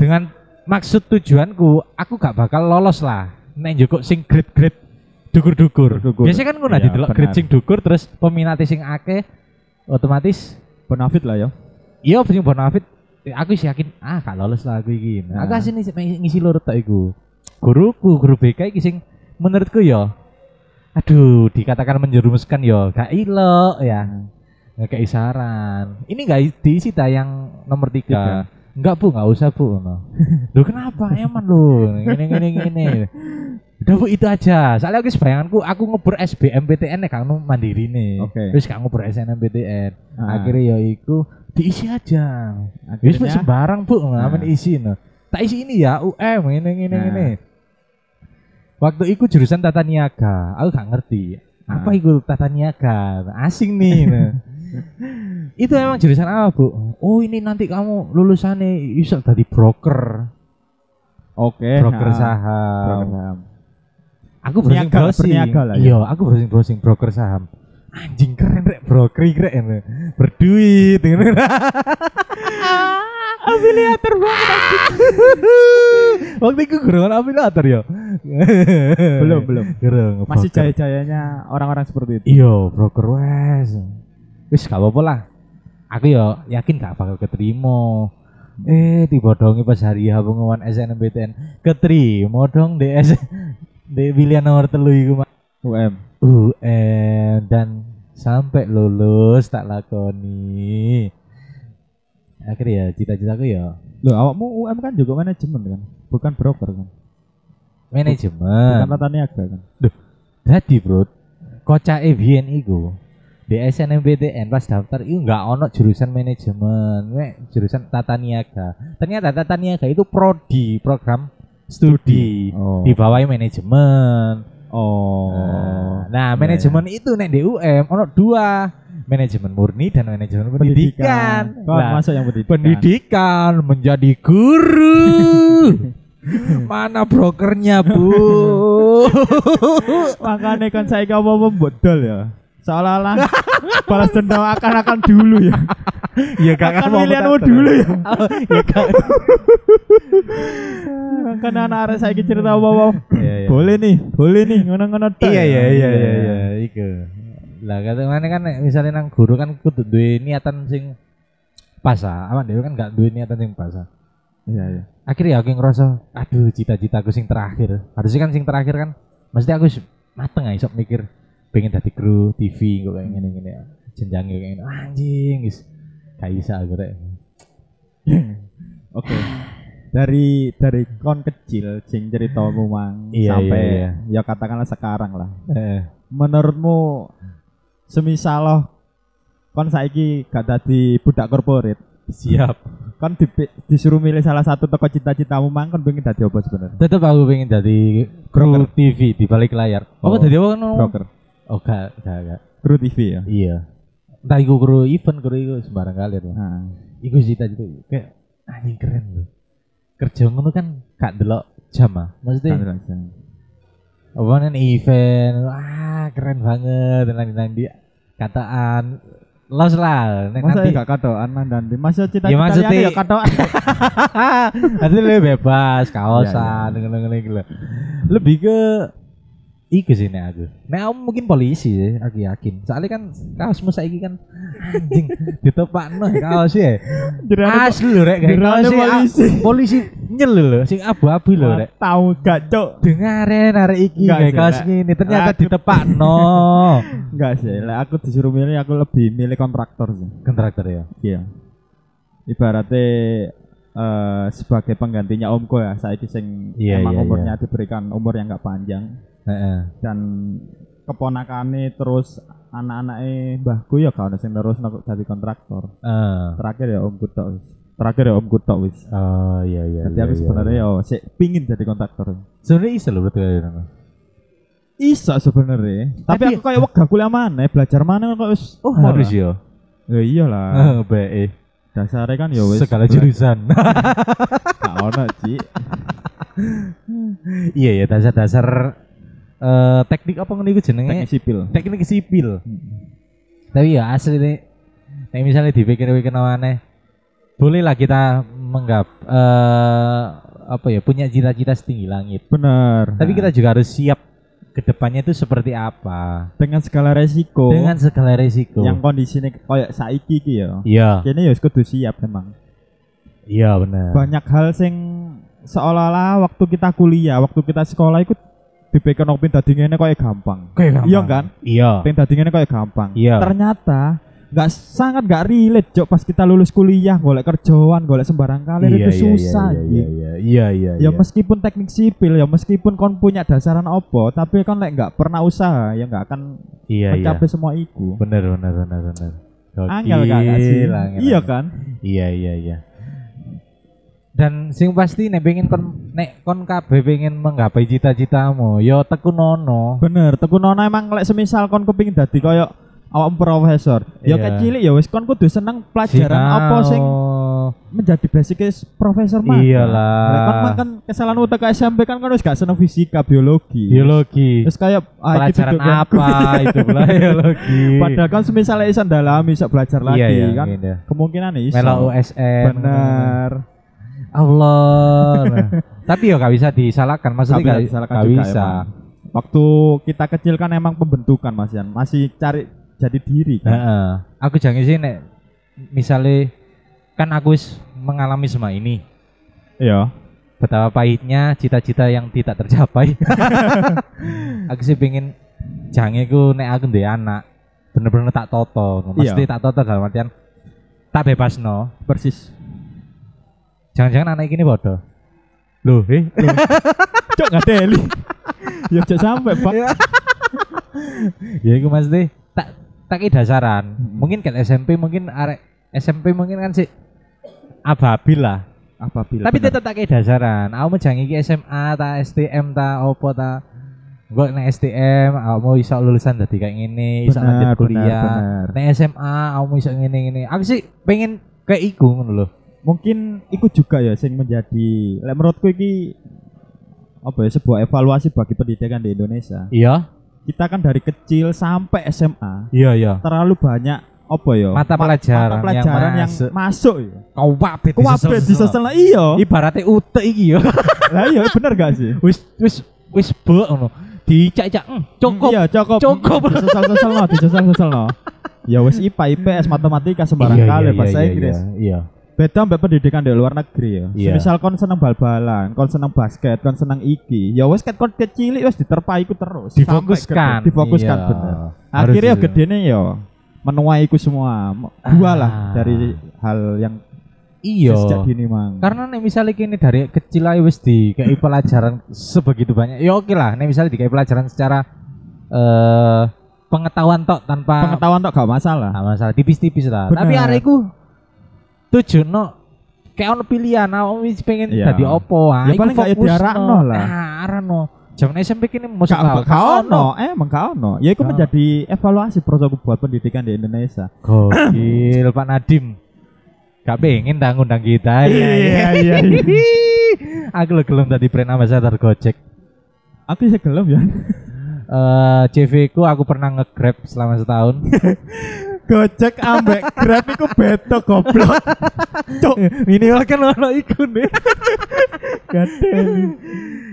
[SPEAKER 2] dengan maksud tujuanku aku gak bakal lolos lah nek juga sing grade grade dukur dukur
[SPEAKER 1] Dukur-dukur.
[SPEAKER 2] biasanya kan ngono
[SPEAKER 1] Iya,
[SPEAKER 2] didelok grade
[SPEAKER 1] benar.
[SPEAKER 2] sing dukur terus peminati sing akeh otomatis
[SPEAKER 1] Bonafit lah ya.
[SPEAKER 2] iya sing bonafit eh, aku sih yakin ah gak lolos lah aku iki
[SPEAKER 1] Nah.
[SPEAKER 2] aku asine sih pengen ngisi lurut tak iku guruku guru BK iki sing menurutku ya aduh dikatakan menjerumuskan ya gak ilok ya nggak kayak saran ini nggak diisi ta yang nomor
[SPEAKER 1] Iya.
[SPEAKER 2] tiga nggak bu nggak usah bu no. lo kenapa emang lo gini gini gini udah bu itu aja soalnya guys bayanganku aku ngebur SBMPTN ya kamu mandiri nih
[SPEAKER 1] Oke.
[SPEAKER 2] terus kamu ngebur SNMPTN
[SPEAKER 1] Ah.
[SPEAKER 2] akhirnya ya iku diisi aja wis
[SPEAKER 1] Akhirnya-
[SPEAKER 2] sembarang bu
[SPEAKER 1] Ah.
[SPEAKER 2] ngamen isi no. tak isi ini ya UM ini ini
[SPEAKER 1] Ah.
[SPEAKER 2] ini waktu itu jurusan tata niaga aku gak ngerti apa
[SPEAKER 1] Ah.
[SPEAKER 2] itu tata niaga asing nih no. itu emang jurusan apa bu oh ini nanti kamu lulusannya bisa tadi broker
[SPEAKER 1] Oke.
[SPEAKER 2] broker
[SPEAKER 1] Eh, ha.
[SPEAKER 2] saham
[SPEAKER 1] Broker saham.
[SPEAKER 2] aku browsing
[SPEAKER 1] Niaga,
[SPEAKER 2] browsing
[SPEAKER 1] berniaga lah ya.
[SPEAKER 2] iya aku browsing browsing broker saham anjing keren rek broker keren berduit gitu. afiliator banget waktu itu gurungan afiliator ya
[SPEAKER 1] Belum, belum.
[SPEAKER 2] gurung
[SPEAKER 1] Masih
[SPEAKER 2] broker.
[SPEAKER 1] jaya-jayanya orang-orang seperti itu.
[SPEAKER 2] iya broker wes wis gak apa-apa lah aku ya yakin gak bakal keterima eh tiba dongi pas hari H pengumuman SNMPTN keterima dong di S di pilihan nomor telu iku Mas.
[SPEAKER 1] UM.
[SPEAKER 2] UN Uh, eh, dan sampai lulus tak lakoni akhirnya ya cita-citaku ya
[SPEAKER 1] Loh, awakmu UM kan juga manajemen kan? Bukan broker kan? Bukan
[SPEAKER 2] manajemen
[SPEAKER 1] tata niaga kan?
[SPEAKER 2] Tadi bro, kocak EBN iku di SNMPTN pas daftar itu nggak ono jurusan manajemen, nek jurusan tata niaga. Ternyata tata niaga itu prodi program studi
[SPEAKER 1] Oh.
[SPEAKER 2] di bawah manajemen.
[SPEAKER 1] oh.
[SPEAKER 2] Nah,
[SPEAKER 1] Iya,
[SPEAKER 2] manajemen itu nek di UM ono dua, manajemen murni dan manajemen pendidikan.
[SPEAKER 1] Kau
[SPEAKER 2] Nah,
[SPEAKER 1] masuk yang pendidikan.
[SPEAKER 2] pendidikan menjadi guru. Mana brokernya, Bu?
[SPEAKER 1] Makanya kan saya gak mau membodol ya. Seolah-olah balas dendam akan-akan dulu ya.
[SPEAKER 2] ya
[SPEAKER 1] Akan pilihanmu dulu ya.
[SPEAKER 2] ya Kak.
[SPEAKER 1] Kan anak-anak saya cerita apa-apa.
[SPEAKER 2] Iya, iya.
[SPEAKER 1] Boleh nih, boleh nih ngono-ngono tok
[SPEAKER 2] Iya
[SPEAKER 1] ya.
[SPEAKER 2] iya iya iya iya iku. Lah kata mana kan nek misalnya nang guru kan kudu duwe niatan sing pas ah. Awak dhewe kan gak duwe niatan sing pas ah.
[SPEAKER 1] Iya iya.
[SPEAKER 2] Akhirnya aku ngerasa aduh cita-citaku sing terakhir. Harusnya kan sing terakhir kan mesti aku wis mateng ah iso mikir pengen dadi kru TV kok kayak ngene-ngene. ah. Jenjangnya kayak ngene. Anjing wis gak bisa aku rek.
[SPEAKER 1] Oke. Dari dari kon kecil sing ceritamu mang
[SPEAKER 2] Iya,
[SPEAKER 1] sampai
[SPEAKER 2] iya,
[SPEAKER 1] ya katakanlah sekarang lah.
[SPEAKER 2] Heeh.
[SPEAKER 1] Menurutmu semisal loh kon saiki gak dadi budak korporat,
[SPEAKER 2] Siap.
[SPEAKER 1] kon di- disuruh milih salah satu toko cita-citamu mang kon pengen dadi apa sebenarnya?
[SPEAKER 2] Tetep aku pengen jadi kru TV di balik layar.
[SPEAKER 1] Oh,
[SPEAKER 2] Apa dadi apa kan?
[SPEAKER 1] Broker,
[SPEAKER 2] Oh gak gak gak.
[SPEAKER 1] kru TV ya.
[SPEAKER 2] Iya. Entah iku kru event kru iku sembarang kali tuh.
[SPEAKER 1] Nah,
[SPEAKER 2] Iku cita-cita iku. kayak anjing keren loh. Kerja ngono kan gak delok jam ah. Maksudnya
[SPEAKER 1] kan langsung.
[SPEAKER 2] apa nen event, wah keren banget dan lain-lain dia kataan los lah nek
[SPEAKER 1] Masa
[SPEAKER 2] nanti
[SPEAKER 1] ya gak katoan nanti. Masa
[SPEAKER 2] Ya,
[SPEAKER 1] cita-cita
[SPEAKER 2] maksudnya-
[SPEAKER 1] liyane ya katoan.
[SPEAKER 2] nanti lebih bebas
[SPEAKER 1] Iya,
[SPEAKER 2] kaosan ngono-ngono iku lho. lebih ke Iku sih nek aku. Nek aku mungkin polisi sih, aku yakin. Soalnya kan kaosmu saiki kan anjing ditepakno kaos ya.
[SPEAKER 1] Jerane
[SPEAKER 2] Asli lho rek kayak
[SPEAKER 1] Gerane
[SPEAKER 2] polisi.
[SPEAKER 1] polisi.
[SPEAKER 2] a- Polisi nyel lho sing abu-abu lho rek.
[SPEAKER 1] Tahu gak, Cok?
[SPEAKER 2] Dengaren arek iki
[SPEAKER 1] Enggak
[SPEAKER 2] kayak
[SPEAKER 1] sih,
[SPEAKER 2] kaos
[SPEAKER 1] Rek.
[SPEAKER 2] ngene ternyata
[SPEAKER 1] Aku-
[SPEAKER 2] ditepakno.
[SPEAKER 1] Enggak sih, lah aku disuruh milih aku lebih milih kontraktor sih.
[SPEAKER 2] Kontraktor ya.
[SPEAKER 1] Iya. Ibaratnya eh, sebagai penggantinya omku ya, saya sing
[SPEAKER 2] Iya,
[SPEAKER 1] emang
[SPEAKER 2] iya,
[SPEAKER 1] umurnya diberikan umur yang nggak panjang
[SPEAKER 2] Heeh.
[SPEAKER 1] dan keponakannya terus anak-anaknya mbahku ya kalau sing terus jadi kontraktor.
[SPEAKER 2] Eh.
[SPEAKER 1] Terakhir ya omku tok wis. Terakhir ya omku tok wis.
[SPEAKER 2] Oh iya iya.
[SPEAKER 1] Jadi aku sebenarnya ya sik pingin jadi kontraktor.
[SPEAKER 2] sebenarnya iso lho berarti ya.
[SPEAKER 1] Iso sebenarnya, tapi,
[SPEAKER 2] Tapi-
[SPEAKER 1] aku kayak wegah kuliah mana, belajar mana kok wis.
[SPEAKER 2] Oh
[SPEAKER 1] malah.
[SPEAKER 2] harus ya.
[SPEAKER 1] Ya iyalah.
[SPEAKER 2] Eh bae.
[SPEAKER 1] Dasarnya kan ya wis
[SPEAKER 2] Segala
[SPEAKER 1] belajar.
[SPEAKER 2] jurusan.
[SPEAKER 1] Gak ono Ci.
[SPEAKER 2] Iya ya dasar-dasar eh teknik apa ngene iku
[SPEAKER 1] Teknik
[SPEAKER 2] jenenge?
[SPEAKER 1] sipil.
[SPEAKER 2] Teknik sipil. Tapi ya asli nih. Nek misalnya dipikir-pikir aneh, bolehlah kita menggap eh apa ya punya cita-cita setinggi langit.
[SPEAKER 1] Bener.
[SPEAKER 2] Tapi
[SPEAKER 1] Nah,
[SPEAKER 2] kita juga harus siap ke depannya itu seperti apa
[SPEAKER 1] dengan segala resiko
[SPEAKER 2] dengan segala resiko.
[SPEAKER 1] yang kondisinya kayak saiki iki ya.
[SPEAKER 2] Iya,
[SPEAKER 1] Kene ya wis kudu siap memang.
[SPEAKER 2] iya benar.
[SPEAKER 1] Banyak hal sing seolah-olah waktu kita kuliah, waktu kita sekolah ikut dipikir nopin dadi ngene kayak gampang.
[SPEAKER 2] Kayak
[SPEAKER 1] Iya
[SPEAKER 2] gampang.
[SPEAKER 1] kan?
[SPEAKER 2] Iya.
[SPEAKER 1] Pengen dadi ngene kayak gampang.
[SPEAKER 2] Iya.
[SPEAKER 1] Ternyata nggak sangat nggak relate Jok, pas kita lulus kuliah golek kerjaan golek sembarang kali itu
[SPEAKER 2] Iya, iya,
[SPEAKER 1] susah
[SPEAKER 2] Iya,
[SPEAKER 1] Ji.
[SPEAKER 2] iya, iya, iya, iya,
[SPEAKER 1] Ya
[SPEAKER 2] iya.
[SPEAKER 1] meskipun teknik sipil, ya meskipun kon punya dasaran opo, tapi kon lek nggak pernah usaha, ya nggak akan
[SPEAKER 2] Iya, iya.
[SPEAKER 1] mencapai semua itu.
[SPEAKER 2] Benar, benar, benar, benar.
[SPEAKER 1] Angel kan
[SPEAKER 2] Gokil,
[SPEAKER 1] sih?
[SPEAKER 2] angel,
[SPEAKER 1] Iya
[SPEAKER 2] angel.
[SPEAKER 1] kan?
[SPEAKER 2] Iya iya iya. Dan sing pasti nek pengen kon nek kon kabeh pengen menggapai cita-citamu, ya yo tekunono.
[SPEAKER 1] Bener. Tekun ana emang lek semisal kon kepingin dadi koyo awak profesor, ya
[SPEAKER 2] Iya.
[SPEAKER 1] kecilik ya wis kon kudu seneng pelajaran opo sing menjadi basic profesor mah.
[SPEAKER 2] Iya
[SPEAKER 1] Lek kon mah
[SPEAKER 2] Iyalah.
[SPEAKER 1] kan kesalahan utek SMP kan kon wis gak seneng fisika, biologi.
[SPEAKER 2] Biologi.
[SPEAKER 1] Terus kayak ah, iki
[SPEAKER 2] Pelajaran
[SPEAKER 1] biduk yang-
[SPEAKER 2] apa itu pula biologi?
[SPEAKER 1] Padahal kan semisal lek iso ndalami, iso belajar lagi
[SPEAKER 2] iya, iya,
[SPEAKER 1] kan.
[SPEAKER 2] iya.
[SPEAKER 1] Kemungkinan iso.
[SPEAKER 2] Melo USN.
[SPEAKER 1] Bener.
[SPEAKER 2] Allah. Nah, Tapi yo gak bisa disalahkan
[SPEAKER 1] Tapi
[SPEAKER 2] maksudnya
[SPEAKER 1] nggak
[SPEAKER 2] gak,
[SPEAKER 1] disalahkan
[SPEAKER 2] gak
[SPEAKER 1] juga ya,
[SPEAKER 2] bisa.
[SPEAKER 1] emang. Waktu kita kecil kan emang pembentukan Mas Yan, masih cari jadi diri kan.
[SPEAKER 2] Heeh. Aku jangan sih nek misalnya kan aku wis mengalami semua ini.
[SPEAKER 1] Iya.
[SPEAKER 2] betapa pahitnya cita-cita yang tidak tercapai. aku sih pengen jange ku nek aku ndek anak bener-bener tak toto, mesti tak toto dalam artian tak bebas no.
[SPEAKER 1] Persis.
[SPEAKER 2] Jangan-jangan anak ini bodoh. Loh, eh,
[SPEAKER 1] Cok nggak teli. ya cok sampai Pak.
[SPEAKER 2] ya iku mesti tak tak praktek dasaran.
[SPEAKER 1] Mm-mm.
[SPEAKER 2] Mungkin kan SMP mungkin arek SMP mungkin kan sih ababil lah.
[SPEAKER 1] apabila
[SPEAKER 2] Tapi
[SPEAKER 1] benar.
[SPEAKER 2] tetep tak dasaran. Aku mejang iki SMA ta STM ta opo ta. Gue nek STM, aku mau iso lulusan dadi kayak gini, iso
[SPEAKER 1] Benar,
[SPEAKER 2] lanjut
[SPEAKER 1] benar,
[SPEAKER 2] kuliah.
[SPEAKER 1] benar.
[SPEAKER 2] Nek SMA, aku mau iso ngene-ngene. Aku sih pengen kayak iku ngono lho.
[SPEAKER 1] mungkin ikut juga ya sing menjadi lek menurutku iki apa ya sebuah evaluasi bagi pendidikan di Indonesia
[SPEAKER 2] Iya,
[SPEAKER 1] kita kan dari kecil sampai SMA
[SPEAKER 2] iya, iya.
[SPEAKER 1] terlalu banyak apa ya ma-
[SPEAKER 2] Mata pelajaran,
[SPEAKER 1] mata pelajaran
[SPEAKER 2] yang,
[SPEAKER 1] yang,
[SPEAKER 2] masuk.
[SPEAKER 1] masuk ya
[SPEAKER 2] Kau wabit
[SPEAKER 1] kuwabe disesel iya
[SPEAKER 2] Ibaratnya ute iki ya.
[SPEAKER 1] lah iya bener gak sih
[SPEAKER 2] wis wis wis bok ngono. Dicak-cak, "Mm, cukup.
[SPEAKER 1] iya cukup
[SPEAKER 2] Cukup.
[SPEAKER 1] disesel-sesel no disesel-sesel no ya wis IPA IPS matematika sembarang kali bahasa Inggris
[SPEAKER 2] Iya.
[SPEAKER 1] beda mbak pendidikan di luar negeri ya.
[SPEAKER 2] Iya.
[SPEAKER 1] Misal kon seneng bal-balan, kon seneng basket, kon seneng iki, ya wes ket kon kecil wes diterpa iku terus. Sampai
[SPEAKER 2] Difokuskan.
[SPEAKER 1] gede, difokuskan
[SPEAKER 2] Iya.
[SPEAKER 1] bener.
[SPEAKER 2] Harus
[SPEAKER 1] Akhirnya ya
[SPEAKER 2] gitu.
[SPEAKER 1] gedene ya menuai iku semua. M- Dua
[SPEAKER 2] Ah.
[SPEAKER 1] lah dari hal yang
[SPEAKER 2] Iya.
[SPEAKER 1] sejak dini mang.
[SPEAKER 2] Karena nih misalnya kini dari kecil aja wis di kayak pelajaran sebegitu banyak. Ya oke lah, nih misalnya di kayak pelajaran secara eh pengetahuan tok tanpa
[SPEAKER 1] pengetahuan tok gak masalah.
[SPEAKER 2] Nggak masalah tipis-tipis lah.
[SPEAKER 1] Bener.
[SPEAKER 2] Tapi areku tujuh no kayak ono pilihan, aku wis pengen
[SPEAKER 1] Iya.
[SPEAKER 2] dadi opo. ah,
[SPEAKER 1] Ya
[SPEAKER 2] iku
[SPEAKER 1] paling nggak ya
[SPEAKER 2] fokus
[SPEAKER 1] diarakno
[SPEAKER 2] no.
[SPEAKER 1] lah.
[SPEAKER 2] Ah, arano. Zaman SMP kini mau
[SPEAKER 1] Gak
[SPEAKER 2] sekolah,
[SPEAKER 1] gak ono, emang gak ono. Ya iku
[SPEAKER 2] Gak.
[SPEAKER 1] menjadi evaluasi prosoku buat pendidikan di Indonesia.
[SPEAKER 2] Gokil Pak Nadim. Gak pengen dah ngundang kita.
[SPEAKER 1] Iya, iya, iya.
[SPEAKER 2] Aku lo gelem tadi brand ambassador Gojek.
[SPEAKER 1] Aku sih gelem ya.
[SPEAKER 2] Eh CV ku aku pernah nge-grab selama setahun.
[SPEAKER 1] Gojek ambek Grab iku beda goblok. Cuk,
[SPEAKER 2] Minimal kan ono iku nih.
[SPEAKER 1] gede.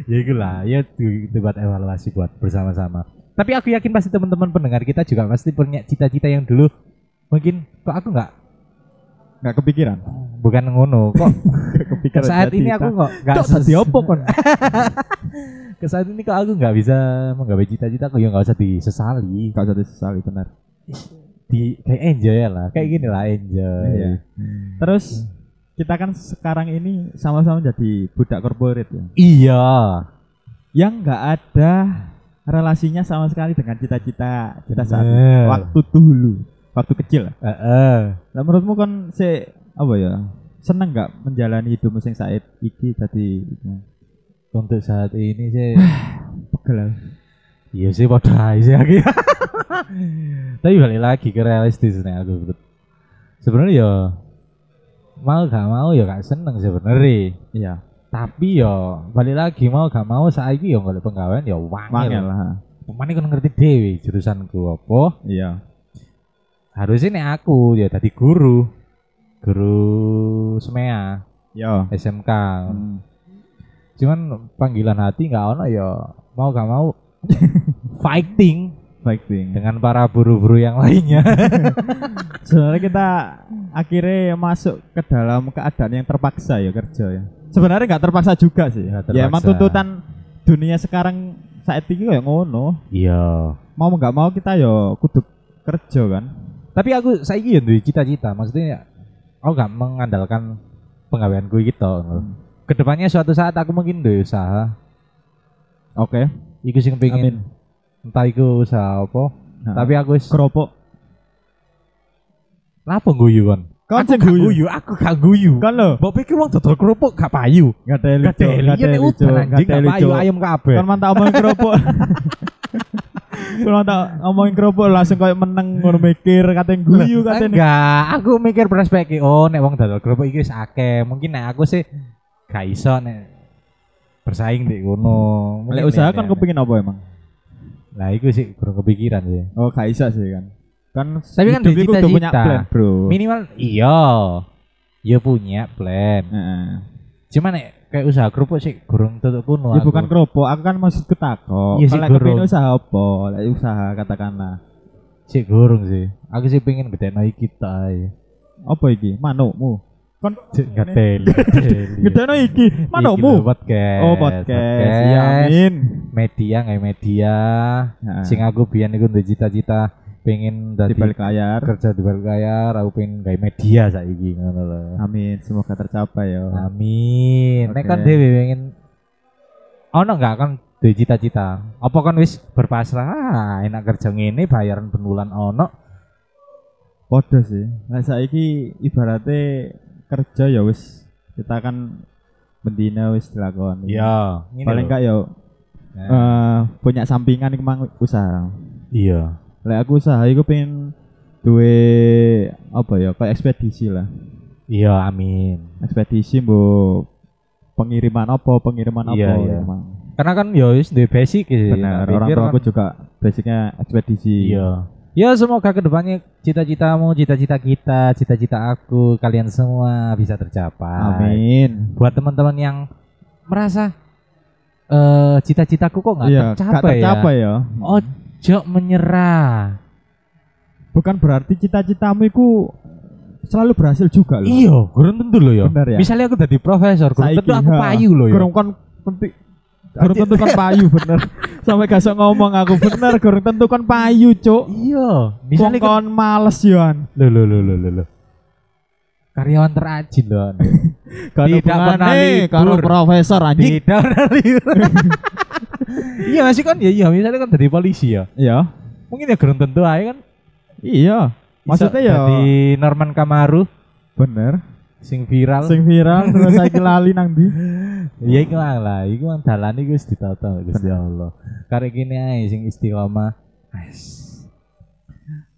[SPEAKER 2] ya iku lah, ya di- itu buat evaluasi buat bersama-sama. Tapi aku yakin pasti teman-teman pendengar kita juga pasti punya cita-cita yang dulu mungkin kok aku nggak
[SPEAKER 1] Gak kepikiran.
[SPEAKER 2] bukan ngono kok
[SPEAKER 1] Gak kepikiran.
[SPEAKER 2] saat
[SPEAKER 1] jadi
[SPEAKER 2] ini
[SPEAKER 1] tak-
[SPEAKER 2] aku kok nggak
[SPEAKER 1] Cok, tadi apa kon?
[SPEAKER 2] ke saat ini kok aku nggak bisa menggapai cita-cita kok ya nggak usah disesali
[SPEAKER 1] Gak usah disesali benar.
[SPEAKER 2] di kayak enjoy lah kayak gini lah enjoy
[SPEAKER 1] Iya. Terus kita kan sekarang ini sama-sama jadi budak korporat ya.
[SPEAKER 2] iya
[SPEAKER 1] Yang nggak ada relasinya sama sekali dengan cita-cita kita saat
[SPEAKER 2] Bener.
[SPEAKER 1] waktu dulu, waktu kecil. lah.
[SPEAKER 2] Heeh.
[SPEAKER 1] Lah menurutmu kon se apa ya? Seneng nggak menjalani hidup sing saat iki tadi
[SPEAKER 2] untuk saat ini sih
[SPEAKER 1] pegel lah.
[SPEAKER 2] iya sih pada aja sih aku ya. tapi balik lagi ke realistis nih aku Bud. sebenarnya ya mau gak mau ya gak seneng sebenarnya
[SPEAKER 1] Iya,
[SPEAKER 2] tapi ya balik lagi mau gak mau saat ini ya nggak penggawean ya wangil
[SPEAKER 1] Iya, mangel lah.
[SPEAKER 2] Pemain kan ngerti dewi jurusanku apa
[SPEAKER 1] Iya.
[SPEAKER 2] harusnya nek aku ya tadi guru guru semea
[SPEAKER 1] Yo.
[SPEAKER 2] SMK
[SPEAKER 1] Hmm,
[SPEAKER 2] cuman panggilan hati nggak ono ya mau gak mau fighting
[SPEAKER 1] Fighting.
[SPEAKER 2] dengan para buru-buru yang lainnya
[SPEAKER 1] sebenarnya kita akhirnya masuk ke dalam keadaan yang terpaksa ya kerja ya sebenarnya nggak terpaksa juga sih
[SPEAKER 2] Nggak
[SPEAKER 1] ya emang
[SPEAKER 2] terpaksa.
[SPEAKER 1] tuntutan dunia sekarang saat ini kayak ngono
[SPEAKER 2] iya
[SPEAKER 1] mau nggak mau kita ya kudu kerja kan
[SPEAKER 2] tapi aku saiki ya duwe cita-cita maksudnya ya, aku gak mengandalkan penggaweanku gitu
[SPEAKER 1] Hmm.
[SPEAKER 2] kedepannya suatu saat aku mungkin duwe usaha
[SPEAKER 1] oke
[SPEAKER 2] iku sing
[SPEAKER 1] amin
[SPEAKER 2] pengen entah iku usaha apa
[SPEAKER 1] Nah,
[SPEAKER 2] tapi aku wis
[SPEAKER 1] keropok
[SPEAKER 2] lapo guyu kon
[SPEAKER 1] kan
[SPEAKER 2] aku
[SPEAKER 1] sing
[SPEAKER 2] gak
[SPEAKER 1] guyu
[SPEAKER 2] guyu aku gak guyu
[SPEAKER 1] kan lo
[SPEAKER 2] Mbok pikir wong dodol kerupuk gak payu.
[SPEAKER 1] nggak ada
[SPEAKER 2] Gak
[SPEAKER 1] lucu
[SPEAKER 2] deli, ya nek udan anjing gak payu ayam kabeh.
[SPEAKER 1] kan mantap ngomongin keropok kalau tak ngomongin keropok langsung kayak meneng ngono mikir katanya guyu katanya
[SPEAKER 2] Enggak, aku mikir perspektif oh nek wong dodol kerupuk iki wis akeh. Mungkin nek aku sih gak iso nek bersaing di kono. Mungkin
[SPEAKER 1] Lek usaha
[SPEAKER 2] nek-
[SPEAKER 1] kan
[SPEAKER 2] nek-
[SPEAKER 1] kepingin apa emang
[SPEAKER 2] Lah iku sih kurang kepikiran sih.
[SPEAKER 1] Oh, gak bisa sih kan. Kan
[SPEAKER 2] Tapi kan
[SPEAKER 1] hidup
[SPEAKER 2] duit
[SPEAKER 1] itu
[SPEAKER 2] cita-cita.
[SPEAKER 1] punya plan, Bro.
[SPEAKER 2] Minimal iya. Ya punya plan.
[SPEAKER 1] Heeh.
[SPEAKER 2] Cuman nek kayak usaha kerupuk sih kurang tutup kuno.
[SPEAKER 1] Ya bukan keropok, aku kan maksud ketako.
[SPEAKER 2] Iya sih,
[SPEAKER 1] Kalau
[SPEAKER 2] gurung.
[SPEAKER 1] kepengin usaha apa? Lek usaha katakanlah
[SPEAKER 2] sih kurang sih. Aku sih pengen gede naik kita.
[SPEAKER 1] apa iki? Manukmu. Kon
[SPEAKER 2] Gede.
[SPEAKER 1] gedeno iki, manukmu.
[SPEAKER 2] Iya. Podcast.
[SPEAKER 1] Oh, podcast. Ya amin.
[SPEAKER 2] media nggak media
[SPEAKER 1] Heeh.
[SPEAKER 2] sing aku biyen iku duwe cita-cita pengen
[SPEAKER 1] di
[SPEAKER 2] dadi
[SPEAKER 1] balik layar.
[SPEAKER 2] kerja di balik layar aku pengen gawe media saiki ngono lho
[SPEAKER 1] Amin, semoga tercapai ya.
[SPEAKER 2] Nah. amin nek
[SPEAKER 1] Oke.
[SPEAKER 2] kon dhewe pengen ono nggak kan duwe cita-cita apa kan wis berpasrah ah, enak kerja ngene bayaran ben wulan ono
[SPEAKER 1] Podo sih. Nah, saiki ibaratnya kerja ya wis kita kan bendina wis dilakoni.
[SPEAKER 3] Iya, ngene
[SPEAKER 1] Paling
[SPEAKER 3] lho.
[SPEAKER 1] gak ya
[SPEAKER 3] Nah,
[SPEAKER 1] eh, punya sampingan iku mang usaha.
[SPEAKER 3] iya.
[SPEAKER 1] Lek aku usaha iku pengen duwe apa ya kayak ekspedisi lah.
[SPEAKER 3] Iya, amin.
[SPEAKER 1] Ekspedisi mbok pengiriman apa, pengiriman apa
[SPEAKER 3] Iya, iya.
[SPEAKER 1] ya, Mang.
[SPEAKER 2] Karena kan ya wis duwe basic sih.
[SPEAKER 1] Benar,
[SPEAKER 2] Tak
[SPEAKER 1] orang
[SPEAKER 2] pikir
[SPEAKER 1] tua
[SPEAKER 2] kan-
[SPEAKER 1] aku juga basicnya ekspedisi.
[SPEAKER 3] Iya.
[SPEAKER 2] Ya semoga kedepannya cita-citamu, cita-cita kita, cita-cita aku, kalian semua bisa tercapai.
[SPEAKER 1] Amin.
[SPEAKER 2] Buat teman-teman yang merasa eh cita-citaku kok nggak
[SPEAKER 1] Iya, gak
[SPEAKER 2] tercapai,
[SPEAKER 1] tercapai ya.
[SPEAKER 2] ya. Ojo menyerah.
[SPEAKER 1] Bukan berarti cita-citamu iku selalu berhasil juga loh.
[SPEAKER 2] Iya, kurang tentu loh ya.
[SPEAKER 1] Bener ya?
[SPEAKER 2] Misalnya aku jadi profesor, kurang
[SPEAKER 1] Saiki,
[SPEAKER 2] tentu aku
[SPEAKER 1] ha.
[SPEAKER 2] payu loh ya.
[SPEAKER 1] Gurung kon penting Gurung tentu kon kan payu bener. Sampai gak sok ngomong aku bener, gurung tentu kon payu, Cuk.
[SPEAKER 2] Iya,
[SPEAKER 1] Wong
[SPEAKER 2] misalnya aku,
[SPEAKER 1] kon males yoan.
[SPEAKER 3] Lho lho lho lho lho, lho.
[SPEAKER 2] karyawan terajin loh.
[SPEAKER 1] Gak
[SPEAKER 2] Tidak pernah libur.
[SPEAKER 1] karo profesor anjing.
[SPEAKER 2] Tidak real. Iya masih kan ya iya misalnya kan jadi polisi ya.
[SPEAKER 1] Iya.
[SPEAKER 2] Mungkin ya kurang tentu aja kan.
[SPEAKER 1] Iya. Maksudnya ya
[SPEAKER 2] di Norman Kamaru
[SPEAKER 1] bener.
[SPEAKER 2] sing viral.
[SPEAKER 1] Sing viral terus saiki lali nang ndi?
[SPEAKER 2] Ya iku mang lah, iku mang dalane iku wis ditata Gusti Allah. Karek kene ae sing istiqomah. Ais.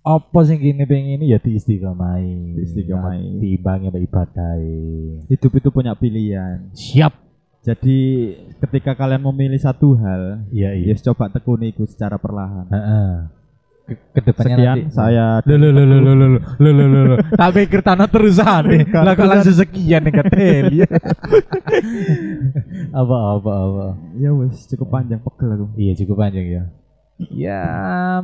[SPEAKER 2] Apa sing kene pengen ya diistiqomahi. Kan
[SPEAKER 1] Diistiqomahi.
[SPEAKER 2] Timbangnya mbak ibadahe.
[SPEAKER 1] Hidup itu punya pilihan.
[SPEAKER 3] Siap.
[SPEAKER 1] Jadi ketika kalian memilih satu hal,
[SPEAKER 3] Iya, iya.
[SPEAKER 1] ya coba tekuni itu secara perlahan.
[SPEAKER 2] Heeh. Ke- Kedepannya
[SPEAKER 1] Sekian
[SPEAKER 2] nanti.
[SPEAKER 1] saya
[SPEAKER 2] Lho lho lho lho lho lho lho lho lho lho. Tak pikir tanah terusan nih. Lah kok langsung sekian nih ketel. Apa apa apa.
[SPEAKER 1] ya wes cukup panjang pegel aku.
[SPEAKER 2] Iya cukup panjang ya. Ya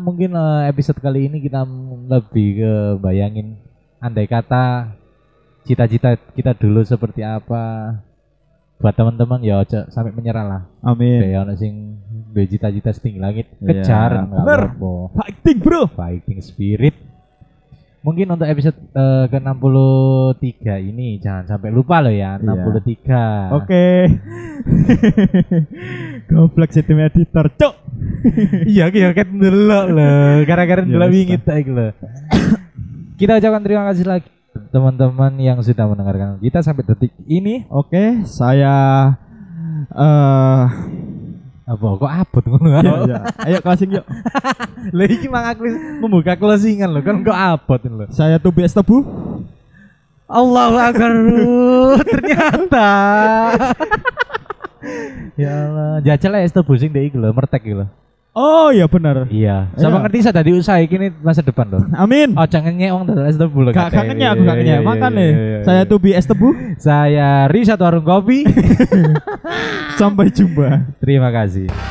[SPEAKER 2] mungkin eh, episode kali ini kita m- lebih ke bayangin andai kata cita-cita kita dulu seperti apa. Buat teman-teman ya ojo sampai menyerah lah.
[SPEAKER 1] Amin.
[SPEAKER 2] Kayak ono sing duwe cita-cita setinggi langit
[SPEAKER 1] Iya,
[SPEAKER 2] kejar nggak
[SPEAKER 1] bener.
[SPEAKER 2] apa-apa.
[SPEAKER 1] Fighting, Bro.
[SPEAKER 2] Fighting spirit. Mungkin untuk episode eh, ke-63 ini jangan sampai lupa loh ya 63.
[SPEAKER 1] Iya. Oke. Goblok sih tim editor, Cuk.
[SPEAKER 2] iya aku ya kan delok loh gara-gara
[SPEAKER 1] Ya,
[SPEAKER 2] delok
[SPEAKER 1] wis
[SPEAKER 2] wingi tak iku lho. kita ucapkan terima kasih lagi teman-teman yang sudah mendengarkan kita sampai detik ini
[SPEAKER 1] Oke, saya eh
[SPEAKER 2] apa kok abot ngono
[SPEAKER 1] ya, ya. ayo closing yuk.
[SPEAKER 2] lha iki mang aku wis membuka closingan lho kan kok abot lho
[SPEAKER 1] Saya Tobias Tebu.
[SPEAKER 2] Allahu akbar Uh, ternyata ya Allah jajal lah itu busing deh iku lho mertek iku lho
[SPEAKER 1] Oh, iya benar.
[SPEAKER 2] iya sama
[SPEAKER 1] Iya.
[SPEAKER 2] ngerti saya tadi usaha iki nih masa depan lho
[SPEAKER 1] Amin.
[SPEAKER 2] Oh jangan nyewong dari SD dulu
[SPEAKER 1] Gak kangen ya aku
[SPEAKER 2] Iya,
[SPEAKER 1] gak kangen ya. Makanya saya Tobias Tebu.
[SPEAKER 2] Saya Risa Warung Kopi.
[SPEAKER 1] Sampai jumpa.
[SPEAKER 2] Terima kasih.